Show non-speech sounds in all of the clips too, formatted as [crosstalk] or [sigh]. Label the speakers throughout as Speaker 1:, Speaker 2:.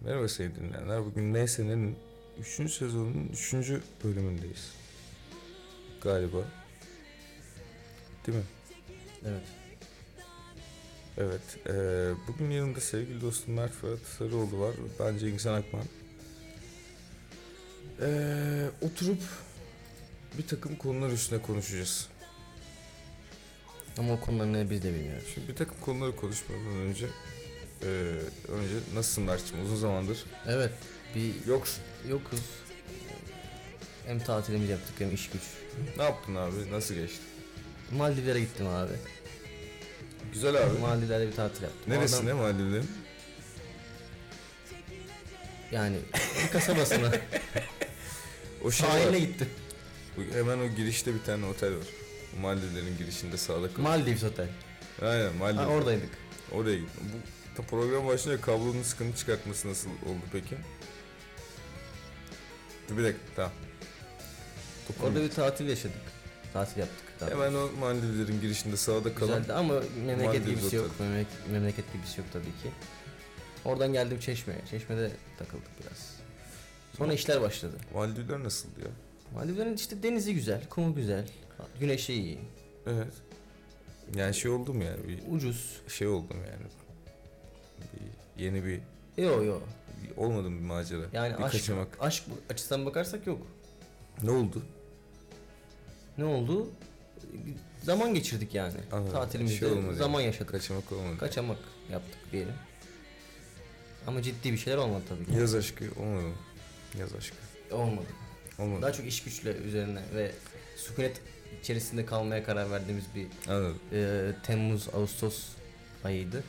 Speaker 1: Merhaba sevgili dinleyenler. Bugün Neyse'nin 3. sezonunun 3. bölümündeyiz. Galiba. Değil mi?
Speaker 2: Evet.
Speaker 1: Evet. eee, bugün yanımda sevgili dostum Mert Fırat Sarıoğlu var. Bence İnsan Akman. Eee, oturup bir takım konular üstüne konuşacağız.
Speaker 2: Ama o konuları ne biz de bilmiyoruz.
Speaker 1: Şimdi bir takım konuları konuşmadan önce eee, önce nasılsın Mert'ciğim? Uzun zamandır
Speaker 2: Evet. Bir
Speaker 1: yoksun.
Speaker 2: yokuz. Hem tatilimizi yaptık hem iş güç.
Speaker 1: Ne yaptın abi? Nasıl geçti?
Speaker 2: Maldivlere gittim abi.
Speaker 1: Güzel abi.
Speaker 2: Maldivlerde bir tatil yaptım.
Speaker 1: Neresine
Speaker 2: Oradan-
Speaker 1: Maldivlerin? [laughs]
Speaker 2: Yani bir kasabasına. [laughs]
Speaker 1: O şey var.
Speaker 2: Sahiline gittim.
Speaker 1: Bu- Hemen o girişte bir tane otel var. Maldivlerin girişinde sağda kalıyor.
Speaker 2: Maldives Otel.
Speaker 1: Aynen Maldiv.
Speaker 2: Ha, oradaydık.
Speaker 1: Oraya gittim. Bu ta program başında kablonun sıkıntı çıkartması nasıl oldu peki? Dur bir dakika tamam.
Speaker 2: Orada bir tatil yaşadık. Tatil yaptık. Tabii.
Speaker 1: Hemen o Maldivlerin girişinde sağda kalan
Speaker 2: Güzeldi ama memleket
Speaker 1: Maldives
Speaker 2: gibisi yok.
Speaker 1: Otel.
Speaker 2: Memleket, memleket gibisi yok tabii ki. Oradan geldim Çeşme'ye. Çeşme'de takıldık biraz. Sonra işler başladı.
Speaker 1: Maldivler nasıldı ya?
Speaker 2: Maldivlerin işte denizi güzel, kumu güzel, güneşi iyi,
Speaker 1: Evet. Yani şey oldum yani bir
Speaker 2: ucuz.
Speaker 1: şey oldum yani. Bir, yeni bir
Speaker 2: Yo yo.
Speaker 1: bir- olmadım bir macera.
Speaker 2: Yani
Speaker 1: bir
Speaker 2: aşk,
Speaker 1: kaçamak.
Speaker 2: aşk bu- açısından bakarsak yok.
Speaker 1: Ne oldu?
Speaker 2: Ne oldu? Zaman geçirdik yani.
Speaker 1: Anladım. Şey
Speaker 2: Tatilimizde
Speaker 1: olmadı
Speaker 2: zaman yaşadık.
Speaker 1: Kaçamak olmadı.
Speaker 2: Kaçamak yaptık diyelim. Ama ciddi bir şeyler olmadı tabii ki.
Speaker 1: Yaz aşkı olmadı mı? Yaz aşkı.
Speaker 2: Olmadı.
Speaker 1: Olmadı.
Speaker 2: Daha çok iş güçle üzerine ve sükunet içerisinde kalmaya karar verdiğimiz bir
Speaker 1: Anladım.
Speaker 2: e, Temmuz Ağustos ayıydı.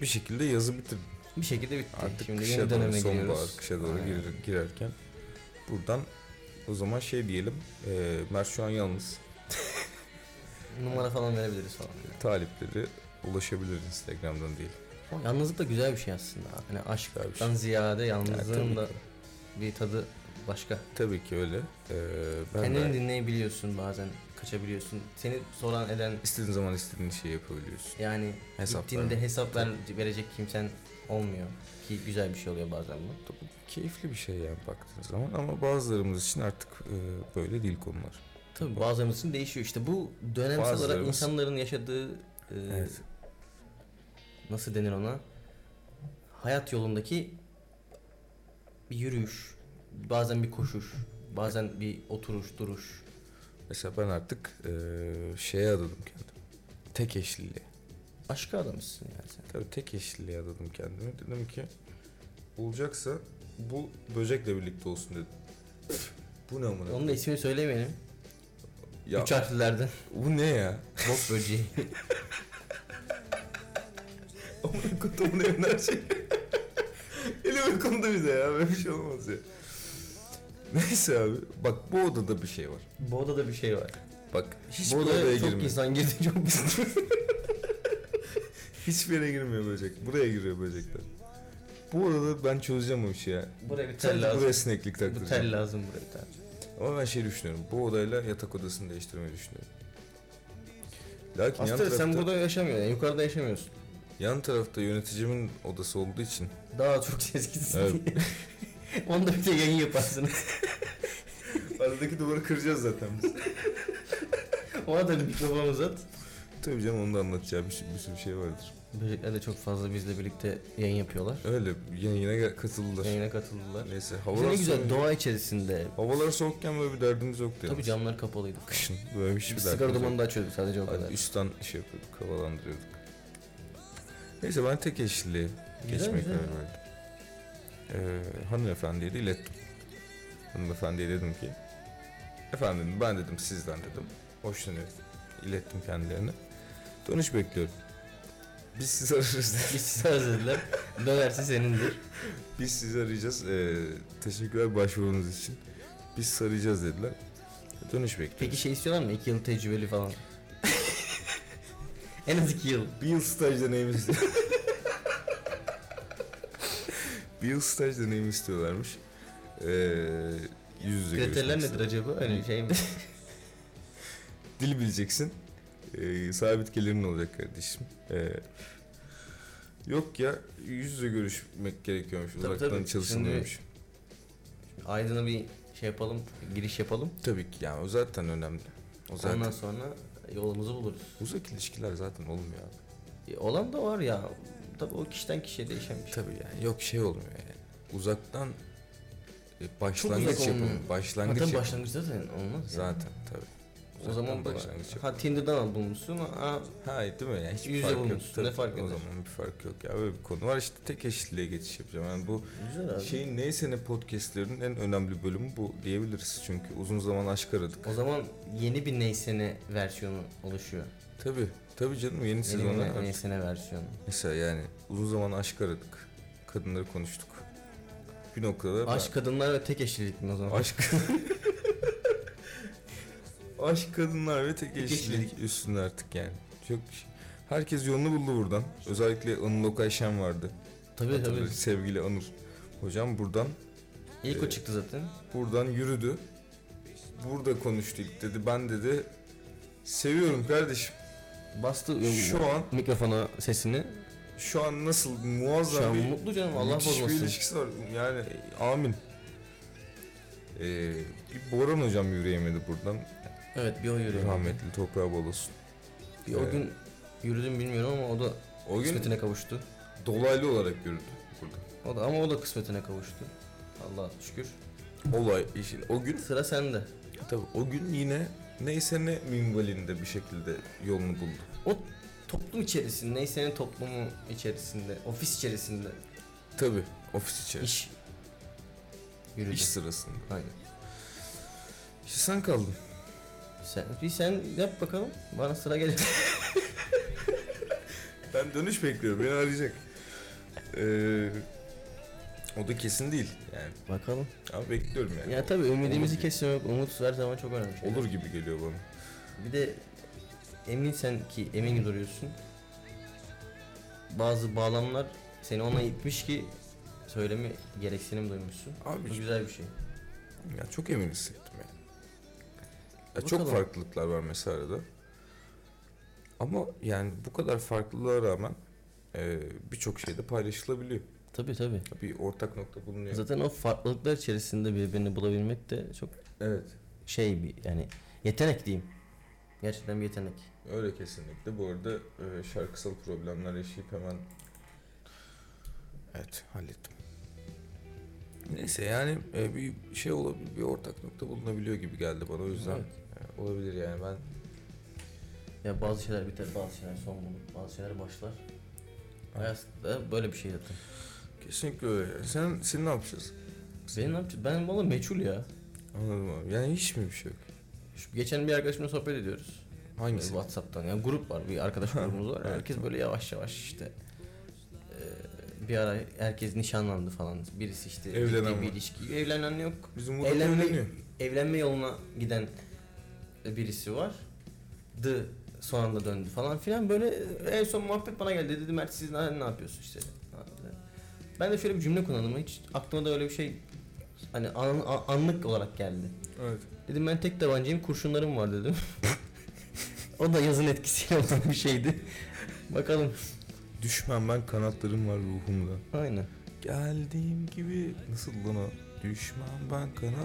Speaker 1: Bir şekilde yazı bitirdim.
Speaker 2: Bir şekilde bitti.
Speaker 1: Artık
Speaker 2: Şimdi
Speaker 1: kışa
Speaker 2: yeni
Speaker 1: doğru,
Speaker 2: döneme
Speaker 1: sonbahar
Speaker 2: giriyoruz.
Speaker 1: kışa doğru
Speaker 2: Aynen.
Speaker 1: girer- girerken buradan o zaman şey diyelim. E, Mert şu an yalnız.
Speaker 2: Numara falan verebiliriz falan.
Speaker 1: Talipleri ulaşabilir Instagram'dan değil.
Speaker 2: Ama Yalnızlık da güzel bir şey aslında. Hani
Speaker 1: Güzel bir şey.
Speaker 2: aşktan ziyade yalnızlığın
Speaker 1: Yani
Speaker 2: da
Speaker 1: tabii, ki,
Speaker 2: bir tadı başka.
Speaker 1: tabii ki öyle. E, ben
Speaker 2: Kendini
Speaker 1: de
Speaker 2: dinleyebiliyorsun bazen, kaçabiliyorsun. Seni soran eden
Speaker 1: istediğin zaman istediğin şeyi yapabiliyorsun.
Speaker 2: yani
Speaker 1: Hesap
Speaker 2: gittiğinde hesap ver, verecek kimsen olmuyor. Ki güzel bir şey oluyor bazen bu.
Speaker 1: Tabii Keyifli bir şey yani baktığın zaman ama bazılarımız için artık e, böyle değil konular.
Speaker 2: Tabii bazılarımız için değişiyor. İşte bu dönemsel olarak
Speaker 1: Bazılarımız-
Speaker 2: insanların yaşadığı e,
Speaker 1: Evet.
Speaker 2: nasıl denir ona? Hayat yolundaki bir yürüyüş, bazen bir koşuş, bazen bir oturuş, duruş.
Speaker 1: Mesela ben artık e, şeye adadım kendimi. Tek eşliliğe.
Speaker 2: Başka adamısın yani sen.
Speaker 1: Tabii tek yeşilliğe adadım kendimi. Dedim ki olacaksa bu böcekle birlikte olsun dedim. bu ne amına?
Speaker 2: Onun da ismini söylemeyelim.
Speaker 1: ya,
Speaker 2: Üç harflilerden.
Speaker 1: bu ne ya? [laughs]
Speaker 2: Bok böceği.
Speaker 1: Amına kutumun evin her şey. Elime kondu bize ya. Böyle bir şey olmaz ya. Neyse abi. Bak bu odada bir şey var.
Speaker 2: Bu odada bir şey var.
Speaker 1: Bak hiç
Speaker 2: Bu
Speaker 1: bu odaya
Speaker 2: odaya çok
Speaker 1: girmiyor.
Speaker 2: insan girdi çok insan.
Speaker 1: Hiçbir yere girmiyor böcek. Buraya giriyor böcekler. Bu odada ben çözeceğim o işi ya.
Speaker 2: buraya bir tel
Speaker 1: Sadece buraya
Speaker 2: lazım.
Speaker 1: sineklik
Speaker 2: Bu
Speaker 1: taktıracağım.
Speaker 2: tel lazım buraya bir tane.
Speaker 1: Ama ben şey düşünüyorum. Bu odayla yatak odasını değiştirmeyi düşünüyorum. Lakin yan
Speaker 2: Aslında
Speaker 1: tarafta,
Speaker 2: sen burada yaşamıyorsun. yani yukarıda yaşamıyorsun.
Speaker 1: yan tarafta yöneticimin odası olduğu
Speaker 2: [laughs]
Speaker 1: için
Speaker 2: Daha çok ses gitsin
Speaker 1: Evet.
Speaker 2: diye. [laughs] Onu da bir de yayın yaparsınız.
Speaker 1: aradaki duvarı kıracağız zaten biz.
Speaker 2: [laughs] Ona da bir mikrofon uzat.
Speaker 1: [laughs] Tabii canım onu da anlatacağım bir, şey- bir sürü şey vardır.
Speaker 2: Böcekler de çok fazla bizle birlikte yayın yapıyorlar.
Speaker 1: Öyle yine yine gel- katıldılar.
Speaker 2: Yayına katıldılar.
Speaker 1: Neyse
Speaker 2: Bize
Speaker 1: havalar
Speaker 2: ne güzel
Speaker 1: soğuk-
Speaker 2: doğa içerisinde.
Speaker 1: havalar soğukken böyle bir derdimiz yoktu
Speaker 2: Tabii
Speaker 1: yalnız.
Speaker 2: camlar kapalıydı.
Speaker 1: Kışın böyle hiçbir derdimiz
Speaker 2: Biz sigara
Speaker 1: yoktu.
Speaker 2: dumanı da açıyorduk sadece o
Speaker 1: Hani
Speaker 2: kadar.
Speaker 1: üstten şey yapıyorduk, havalandırıyorduk. Neyse ben tek eşli
Speaker 2: Güzel,
Speaker 1: geçmek
Speaker 2: güzel.
Speaker 1: üzere Ee, hanımefendiye de ilettim. Hanımefendiye dedim ki, efendim ben dedim sizden dedim, hoşlanıyorum. İlettim kendilerine. Dönüş bekliyorum. Biz sizi ararız [laughs] dedi.
Speaker 2: Biz sizi özlediler. Dönerse senindir.
Speaker 1: Biz sizi arayacağız. Ee, teşekkürler başvurunuz için. Biz sarayacağız dediler. Dönüş bekliyorum.
Speaker 2: Peki şey istiyorlar mı? İki yıl tecrübeli falan. [laughs] en az iki yıl.
Speaker 1: [laughs] Bir yıl staj deneyimi istiyor. [laughs] bir yıl staj deneyimi istiyorlarmış. Ee, yüz yüze
Speaker 2: Kriterler
Speaker 1: görüşmek
Speaker 2: nedir
Speaker 1: istiyor.
Speaker 2: acaba? Öyle şey mi?
Speaker 1: Dil bileceksin. Ee, sabit gelirin olacak kardeşim. Ee, Yok ya yüz yüze görüşmek gerekiyormuş.
Speaker 2: Tabii,
Speaker 1: uzaktan
Speaker 2: tabii.
Speaker 1: çalışılmıyormuş.
Speaker 2: Aydın'a bir şey yapalım, giriş yapalım.
Speaker 1: Tabii ki yani o zaten önemli. O zaten.
Speaker 2: Ondan sonra yolumuzu buluruz.
Speaker 1: Uzak ilişkiler zaten olmuyor abi.
Speaker 2: E, Olan da var ya. Tabii o kişiden kişiye değişen bir şey.
Speaker 1: Tabii yani yok şey olmuyor yani. Uzaktan e,
Speaker 2: uzak
Speaker 1: başlangıç
Speaker 2: olmuyor.
Speaker 1: yapımı.
Speaker 2: Ha,
Speaker 1: Başlangıç
Speaker 2: tabii
Speaker 1: yapımı.
Speaker 2: başlangıçta zaten olmaz. ya.
Speaker 1: Zaten tabii.
Speaker 2: O
Speaker 1: Uzaktan
Speaker 2: zaman da
Speaker 1: başlangıç yapımı.
Speaker 2: ha Tinder'dan al bulmuşsun. Ha,
Speaker 1: Hayır değil mi? Yani hiçbir
Speaker 2: Yüzde
Speaker 1: fark yok.
Speaker 2: bulmuşsun, ne fark
Speaker 1: o
Speaker 2: eder?
Speaker 1: zaman bir fark yok ya. Böyle bir konu var işte tek eşitliğe geçiş yapacağım. Yani bu
Speaker 2: güzel abi.
Speaker 1: şeyin neyse ne podcastlerin en önemli bölümü bu diyebiliriz. Çünkü uzun zaman aşk aradık.
Speaker 2: O zaman yeni bir Neysene versiyonu oluşuyor.
Speaker 1: Tabii. Tabii canım yeni
Speaker 2: Yeni bir
Speaker 1: sezonda.
Speaker 2: Ne- Neysene versiyonu.
Speaker 1: Mesela yani uzun zaman aşk aradık. Kadınları konuştuk. Bir noktada ben-
Speaker 2: Aşk kadınlar ve tek eşlilik mi o zaman?
Speaker 1: Aşk [laughs] Aşk kadınlar ve tek
Speaker 2: Tek
Speaker 1: eşlilik üstünde artık yani. Çok bir şey. Herkes yolunu buldu buradan. Özellikle Anıl Okayşen vardı.
Speaker 2: Tabii tabii.
Speaker 1: Hatırlarız, Sevgili Anıl. Hocam buradan
Speaker 2: İlk o
Speaker 1: Ee,
Speaker 2: çıktı zaten.
Speaker 1: buradan yürüdü. Burada konuştu ilk dedi. Ben dedi seviyorum kardeşim.
Speaker 2: Bastı
Speaker 1: Şu an
Speaker 2: mikrofona sesini.
Speaker 1: şu an nasıl
Speaker 2: Şu
Speaker 1: muazzam
Speaker 2: an
Speaker 1: bir
Speaker 2: mutlu canım Allah
Speaker 1: Müthiş bir
Speaker 2: bozmasın.
Speaker 1: ilişkisi var. Yani amin. Ee, bir Boran hocam yürüyemedi buradan.
Speaker 2: Evet bir o yürüdü.
Speaker 1: Rahmetli toprağı bol olsun.
Speaker 2: Bir o
Speaker 1: Evet.
Speaker 2: gün yürüdüm bilmiyorum ama o da
Speaker 1: O gün
Speaker 2: kısmetine kavuştu.
Speaker 1: dolaylı olarak yürüdü burada.
Speaker 2: O da ama o da kısmetine kavuştu. Allah şükür.
Speaker 1: Olay işin. O gün
Speaker 2: Sıra sende.
Speaker 1: tabii o gün yine neyse ne minvalinde bir şekilde yolunu buldu.
Speaker 2: O toplum içerisinde, neysenin toplumu içerisinde, ofis içerisinde
Speaker 1: Tabii ofis içeri. İş,
Speaker 2: iş yürüdü.
Speaker 1: sırasında.
Speaker 2: Aynen.
Speaker 1: İşte sen kaldın.
Speaker 2: Sen, bir sen yap bakalım. Bana sıra gelir.
Speaker 1: Ben dönüş bekliyorum. Beni arayacak. Ee, o da kesin değil yani.
Speaker 2: bakalım.
Speaker 1: Ama bekliyorum yani.
Speaker 2: Ya tabii
Speaker 1: Olur
Speaker 2: ümidimizi
Speaker 1: gibi-
Speaker 2: kesmemek, umut her zaman çok önemli. şey.
Speaker 1: Olur gibi geliyor bana.
Speaker 2: Bir de emin sen ki emin duruyorsun. Bazı bağlamlar seni ona itmiş ki söylemi gereksinim duymuşsun. Bu
Speaker 1: Abi
Speaker 2: güzel bir şey.
Speaker 1: ya çok emin hissettim yani. Ya
Speaker 2: Bakalım.
Speaker 1: çok farklılıklar var mesela arada. Ama yani bu kadar farklılığa rağmen e, birçok şeyde paylaşılabiliyor.
Speaker 2: Tabii tabii.
Speaker 1: Bir ortak nokta bulunuyor.
Speaker 2: Zaten o farklılıklar içerisinde birbirini bulabilmek de çok
Speaker 1: Evet.
Speaker 2: şey bir yani yetenek diyeyim. Gerçekten bir yetenek.
Speaker 1: Öyle kesinlikle. Bu arada e, şarkısal problemler yaşayıp hemen Evet, hallettim. Neyse yani e, bir şey olabilir, bir ortak nokta bulunabiliyor gibi geldi bana. O yüzden e, olabilir yani ben
Speaker 2: Ya bazı şeyler biter, bazı şeyler son bulur, bazı şeyler başlar.
Speaker 1: Evet.
Speaker 2: Hayatta böyle bir şey zaten.
Speaker 1: kesinlikle öyle. yani. Sen sen ne yapacağız?
Speaker 2: Benim ne yapacağım? Ben valla meçhul ya.
Speaker 1: Anladım abi. Yani hiç mi bir şey yok?
Speaker 2: Şu, geçen bir arkadaşımla sohbet ediyoruz. Böyle
Speaker 1: Hangisi?
Speaker 2: Whatsapp'tan yani grup var bir arkadaş grubumuz var.
Speaker 1: [laughs] Evet,
Speaker 2: Herkes böyle yavaş yavaş işte eee, bir ara herkes nişanlandı falan. Birisi işte ciddi
Speaker 1: Evlenen
Speaker 2: bir
Speaker 1: var.
Speaker 2: ilişki. Evlenen yok.
Speaker 1: Bizim Murat
Speaker 2: Evlenme,
Speaker 1: evleniyor.
Speaker 2: evlenme yoluna giden birisi var. Dı son anda döndü falan filan böyle en son muhabbet bana geldi dedi Mert siz ne, ne yapıyorsun işte. Ben de şöyle bir cümle kullandım hiç aklıma da öyle bir şey hani an- a- anlık olarak geldi.
Speaker 1: Evet.
Speaker 2: Dedim ben tek tabancayım kurşunlarım var dedim. [laughs] o da yazın etkisiyle olan bir şeydi. Bakalım.
Speaker 1: Düşmem ben kanatlarım var ruhumda.
Speaker 2: Aynen.
Speaker 1: Geldiğim gibi nasıl lan o? Düşmem ben kanatlarım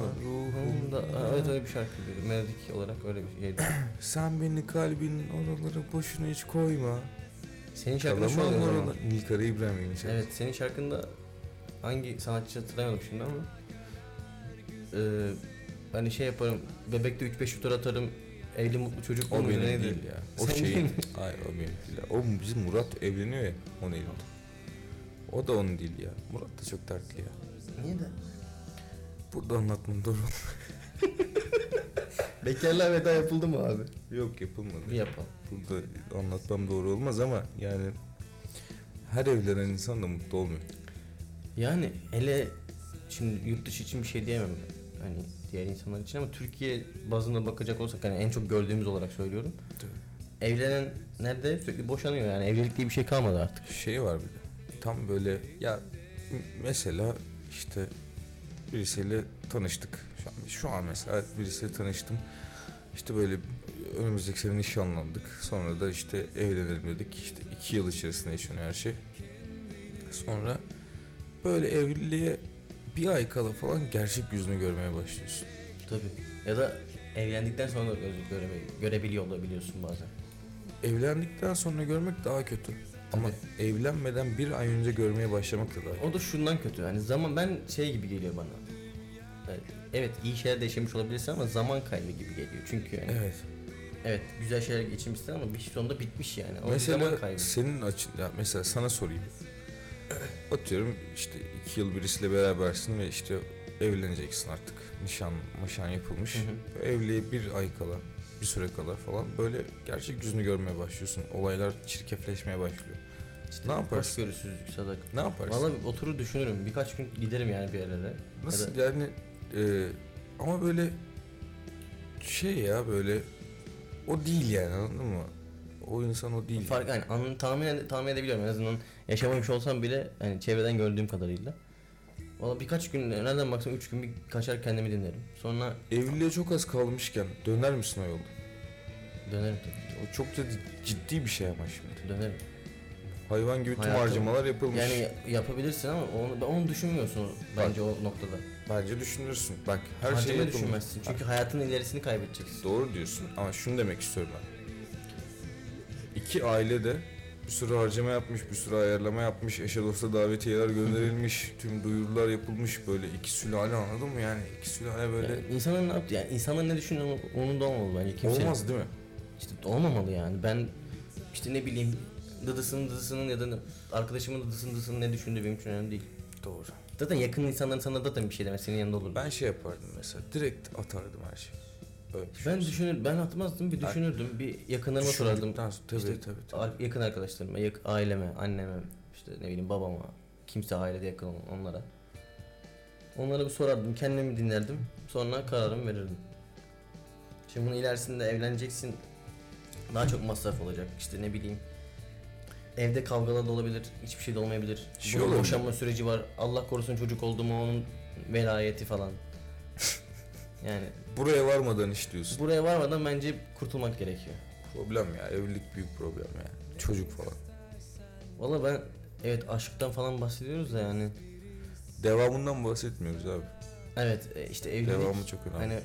Speaker 1: var
Speaker 2: Hatırlamıyorum. Ruhumda.
Speaker 1: ruhumda.
Speaker 2: Aa, Evet öyle bir şarkı diyor. Melodik olarak öyle bir şeydi.
Speaker 1: Sen beni kalbinin oralara boşuna hiç koyma.
Speaker 2: Senin şarkın şu
Speaker 1: Kalamam
Speaker 2: oluyor o zaman.
Speaker 1: oralar. Nilkara İbrahim'in şarkısı.
Speaker 2: Evet senin şarkında hangi sanatçı hatırlayamadım şimdi ama. Ee, hani şey yaparım. Bebekte 3-5 şutör atarım. Evli mutlu çocuk
Speaker 1: O
Speaker 2: olur
Speaker 1: benim
Speaker 2: neydi?
Speaker 1: değil ya. O
Speaker 2: Sen değil
Speaker 1: şeyin.
Speaker 2: mi?
Speaker 1: Hayır o benim değil. ya. O bizim Murat evleniyor ya. O neydi? O da onun değil ya. Murat da çok dertli ya.
Speaker 2: Niye de?
Speaker 1: Burada anlatmam doğru.
Speaker 2: Bekarlığa veda yapıldı mı abi? [laughs]
Speaker 1: Yok yapılmadı.
Speaker 2: Bir yapalım.
Speaker 1: Burada anlatmam doğru olmaz ama yani her evlenen insan da mutlu olmuyor.
Speaker 2: Yani hele şimdi yurt dışı için bir şey diyemem hani diğer insanlar için ama Türkiye bazında bakacak olsak hani en çok gördüğümüz olarak söylüyorum. Evlenen nerede sürekli boşanıyor yani evlilik diye bir şey kalmadı artık.
Speaker 1: Şey var bir de tam böyle ya m- mesela işte birisiyle tanıştık. Şu an, şu an mesela birisiyle tanıştım. İşte böyle önümüzdeki sene nişanlandık. Sonra da işte evlenelim dedik. İşte iki yıl içerisinde yaşanıyor her şey. Sonra böyle evliliğe bir ay kala falan gerçek yüzünü görmeye başlıyorsun.
Speaker 2: Tabii. Ya da evlendikten sonra da göz- göreme- görebiliyor olabiliyorsun bazen.
Speaker 1: Evlendikten sonra görmek daha kötü. Ama evlenmeden bir ay önce görmeye başlamak da daha
Speaker 2: O da şundan kötü. Hani zaman ben şey gibi geliyor bana. Yani Evet iyi şeyler de yaşamış olabilirsin ama zaman kaybı gibi geliyor. Çünkü yani evet,
Speaker 1: Evet.
Speaker 2: güzel şeyler geçirmişsin ama bir sonunda bitmiş yani. O bir zaman
Speaker 1: Mesela
Speaker 2: kaybı.
Speaker 1: senin açın, ya mesela sana sorayım. Atıyorum işte iki yıl birisiyle berabersin ve işte evleneceksin artık. Nişan, nişan yapılmış.
Speaker 2: Hı hı.
Speaker 1: Evliliğe bir ay kala, bir süre kala falan böyle gerçek yüzünü görmeye başlıyorsun. Olaylar çirkefleşmeye başlıyor.
Speaker 2: İşte
Speaker 1: ne yaparsın?
Speaker 2: Hoşgörüsüzlük, sadaka.
Speaker 1: Ne yaparsın?
Speaker 2: Valla oturur düşünürüm. Birkaç gün giderim yani bir yerlere.
Speaker 1: Nasıl yani e, ama böyle şey ya böyle o değil yani anladın mı? O insan o değil.
Speaker 2: Fark yani anını tahmin, ede- tahmin edebiliyorum. En azından yaşamamış olsam bile yani çevreden gördüğüm kadarıyla. Valla birkaç gün nereden baksam üç gün bir kaçar kendimi dinlerim. Sonra
Speaker 1: Evliliğe çok az kalmışken döner misin o yolda?
Speaker 2: dönerim tabii.
Speaker 1: O çok da ciddi bir şey ama şimdi.
Speaker 2: Dönerim.
Speaker 1: Hayvan gibi tüm
Speaker 2: Hayatım-
Speaker 1: harcamalar yapılmış.
Speaker 2: Yani ya- yapabilirsin ama onu, onu düşünmüyorsun bence o noktada.
Speaker 1: Bence düşünürsün. Bak her
Speaker 2: Her
Speaker 1: şey
Speaker 2: şeyi
Speaker 1: yapılmış.
Speaker 2: düşünmezsin. Çünkü hayatının ilerisini kaybedeceksin.
Speaker 1: Doğru diyorsun ama şunu demek istiyorum ben. İki aile de bir sürü harcama yapmış, bir sürü ayarlama yapmış, eşe dosta davetiyeler
Speaker 2: [laughs]
Speaker 1: gönderilmiş, tüm duyurular yapılmış böyle iki sülale anladın mı yani? iki sülale böyle
Speaker 2: Yani insanların ne yaptı? Yani insanların ne düşündüğü onu- onun da olmamalı bence. Kimsenin.
Speaker 1: olmaz değil mi?
Speaker 2: İşte olmamalı yani. Ben işte ne bileyim dadısının dadısının ya da ne- arkadaşımın dadısının dadısının ne düşündüğü benim için önemli değil.
Speaker 1: Doğru.
Speaker 2: Zaten yakın insanların sana zaten bir şey demez. Senin yanında olur.
Speaker 1: Ben şey yapardım mesela direkt atardım her şeyi. Öyle bir şey
Speaker 2: ben
Speaker 1: olsa.
Speaker 2: düşünür, ben atmazdım bir
Speaker 1: Ben-
Speaker 2: düşünürdüm. Bir yakınlarıma sorardım.
Speaker 1: Düşündükten sonra- Tabii
Speaker 2: İşte-
Speaker 1: tabii tabii.
Speaker 2: Ar- Yakın arkadaşlarıma, yak- aileme, anneme, işte ne bileyim babama, kimse ailede yakın olan onlara. Onlara bir sorardım, kendimi dinlerdim. Sonra kararımı verirdim. Şimdi bunun ilerisinde evleneceksin. Daha çok masraf olacak. İşte ne bileyim. Evde kavgalar da olabilir, hiçbir şey de olmayabilir.
Speaker 1: Şey
Speaker 2: Bunun
Speaker 1: olabilir.
Speaker 2: boşanma süreci var. Allah korusun çocuk oldu mu onun velayeti falan. [laughs] yani
Speaker 1: Buraya varmadan işliyorsun.
Speaker 2: buraya varmadan bence kurtulmak gerekiyor.
Speaker 1: Problem ya evlilik büyük problem ya. Çocuk falan.
Speaker 2: Valla ben evet aşktan falan bahsediyoruz da yani
Speaker 1: Devamından bahsetmiyoruz abi.
Speaker 2: evet e, işte evlilik
Speaker 1: Devamı çok önemli.
Speaker 2: hani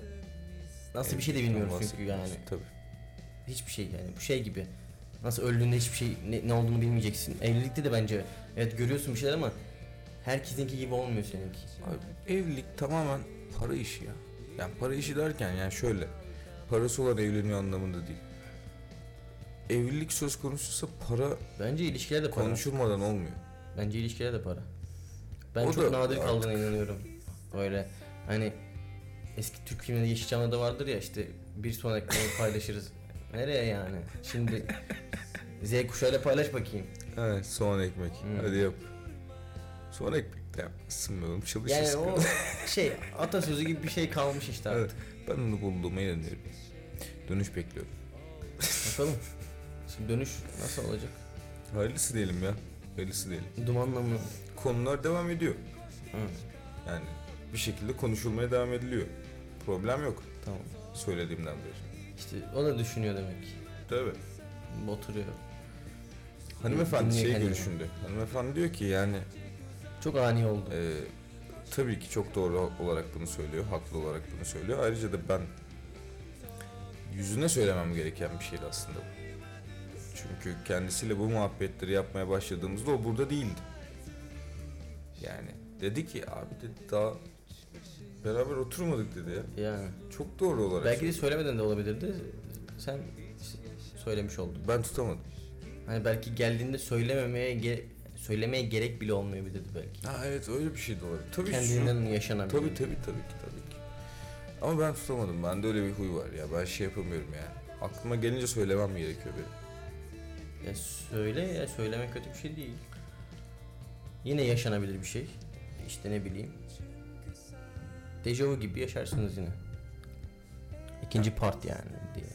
Speaker 2: nasıl bir şey de
Speaker 1: Evlilikten
Speaker 2: bilmiyoruz çünkü yani
Speaker 1: bahsetmiyoruz. Tabii.
Speaker 2: hiçbir şey yani bu şey gibi nasıl öldüğünde hiçbir şey ne, ne olduğunu bilmeyeceksin. Evlilikte de bence evet görüyorsun bir şeyler ama herkesinki gibi olmuyor seninki.
Speaker 1: Abi, evlilik tamamen para işi ya. Yani para işi derken yani şöyle. Parası olan evleniyor anlamında değil. Evlilik söz konusuysa para
Speaker 2: Bence ilişkiler de para.
Speaker 1: konuşulmadan olmuyor.
Speaker 2: Bence ilişkiler de para. Ben
Speaker 1: O da
Speaker 2: çok nadir
Speaker 1: artık-
Speaker 2: kaldığına inanıyorum. Öyle hani eski Türk filminde Yeşilçam'da da vardır ya işte bir sonraki bölümü paylaşırız. Nereye yani? Şimdi Z kuşağıyla paylaş bakayım.
Speaker 1: Evet soğan ekmek.
Speaker 2: Hmm.
Speaker 1: Hadi yap. Soğan ekmek de yapmışsın be oğlum çalışırsın.
Speaker 2: Yani o [laughs] şey atasözü gibi bir şey kalmış işte
Speaker 1: Evet,
Speaker 2: artık.
Speaker 1: ben onu bulduğuma inanıyorum. Dönüş bekliyorum.
Speaker 2: Bakalım. Şimdi dönüş nasıl olacak?
Speaker 1: Hayırlısı diyelim ya. Hayırlısı diyelim.
Speaker 2: Dumanla mı?
Speaker 1: Konular devam ediyor.
Speaker 2: Hı,
Speaker 1: Yani bir şekilde konuşulmaya devam ediliyor. Problem yok
Speaker 2: tamam.
Speaker 1: söylediğimden beri.
Speaker 2: İşte o da düşünüyor demek ki.
Speaker 1: Tabii.
Speaker 2: Oturuyor.
Speaker 1: Hanımefendi
Speaker 2: Dinleyen
Speaker 1: şey
Speaker 2: hanımefendi.
Speaker 1: görüşünde. Hanımefendi diyor ki yani
Speaker 2: Çok ani oldu.
Speaker 1: e, tabii ki çok doğru olarak bunu söylüyor. Haklı olarak bunu söylüyor. Ayrıca da ben yüzüne söylemem gereken bir şeydi aslında bu. Çünkü kendisiyle bu muhabbetleri yapmaya başladığımızda o burada değildi. Yani dedi ki abi dedi daha beraber oturmadık dedi ya.
Speaker 2: Yani.
Speaker 1: Çok doğru olarak.
Speaker 2: Belki de
Speaker 1: söyledi.
Speaker 2: söylemeden de olabilirdi. Sen işte söylemiş oldun.
Speaker 1: ben tutamadım.
Speaker 2: Hani belki geldiğinde söylememeye ge- söylemeye gerek bile olmayabilirdi belki.
Speaker 1: Ha evet öyle bir şey de olabilir. Tabii şu-
Speaker 2: Kendinden yaşanan.
Speaker 1: Tabii tabii tabii ki tabii ki. Ama ben tutamadım. Bende öyle bir huy var ya. Ben şey yapamıyorum yani. Aklıma gelince söylemem gerekiyor benim.
Speaker 2: Ya söyle ya söylemek kötü bir şey değil. Yine yaşanabilir bir şey. İşte ne bileyim. Dejavu gibi yaşarsınız yine. İkinci part yani diye.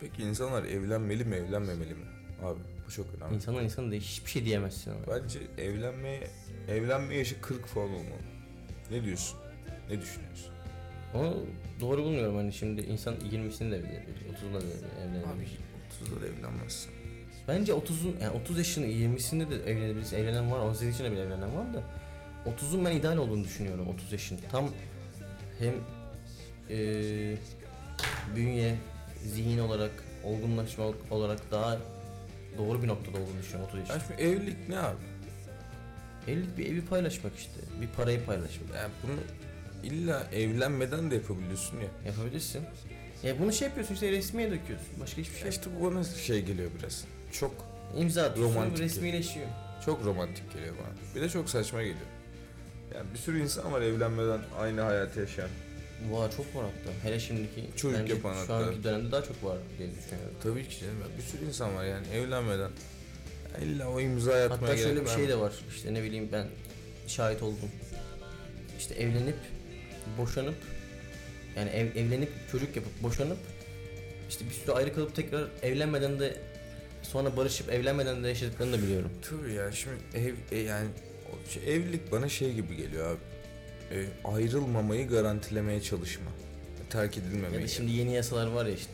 Speaker 1: Peki insanlar evlenmeli mi evlenmemeli mi? Abi bu çok önemli.
Speaker 2: İnsanlar insana da hiçbir şey diyemezsin ona.
Speaker 1: Bence evlenmeye evlenme yaşı 40 falan olmalı. Ne diyorsun? Ne düşünüyorsun?
Speaker 2: Ama doğru bulmuyorum hani şimdi insan 20'sini de evlenir, 30'unu da evlenir.
Speaker 1: Abi 30'da da evlenmezsin.
Speaker 2: Bence 30'un yani 30 yaşını 20'sinde de evlenebilirsin. Evlenen var, 18 yaşında bile evlenen var da 30'un ben ideal olduğunu düşünüyorum 30 yaşın. Tam hem eee bünye, zihin olarak, olgunlaşma olarak daha doğru bir noktada olduğunu düşünüyorum 30
Speaker 1: Ya
Speaker 2: yaşın.
Speaker 1: şimdi evlilik ne abi?
Speaker 2: Evlilik bir evi paylaşmak işte. Bir parayı paylaşmak.
Speaker 1: Ya bunu illa evlenmeden de yapabiliyorsun ya.
Speaker 2: Yapabilirsin. Ya bunu şey yapıyorsun işte resmiye döküyorsun. Başka hiçbir şey
Speaker 1: Ya
Speaker 2: yok.
Speaker 1: işte bu bana şey geliyor biraz. Çok
Speaker 2: İmza atıyorsun
Speaker 1: Romantik.
Speaker 2: resmileşiyor.
Speaker 1: Çok romantik geliyor bana. Bir de çok saçma geliyor. Yani bir sürü insan var evlenmeden aynı hayatı yaşayan.
Speaker 2: Vay çok var hatta. Hele şimdiki
Speaker 1: Çocuk
Speaker 2: bence
Speaker 1: yapan
Speaker 2: şu
Speaker 1: hatta.
Speaker 2: anki dönemde daha çok var diye düşünüyorum.
Speaker 1: Tabii ki canım. ya. Bir sürü insan var yani evlenmeden. Ya İlla o imzayı atmaya
Speaker 2: Hatta şöyle
Speaker 1: gerek
Speaker 2: bir
Speaker 1: var
Speaker 2: şey
Speaker 1: mı?
Speaker 2: de var. İşte ne bileyim ben şahit oldum. İşte evlenip boşanıp yani ev- evlenip çocuk yapıp boşanıp işte bir süre ayrı kalıp tekrar evlenmeden de sonra barışıp evlenmeden de yaşadıklarını da biliyorum.
Speaker 1: Tabii ya şimdi ev e yani o şey- evlilik bana şey gibi geliyor abi. E, ayrılmamayı garantilemeye çalışma. Terk
Speaker 2: Ya
Speaker 1: edilmemeyi.
Speaker 2: da şimdi yeni yasalar var ya işte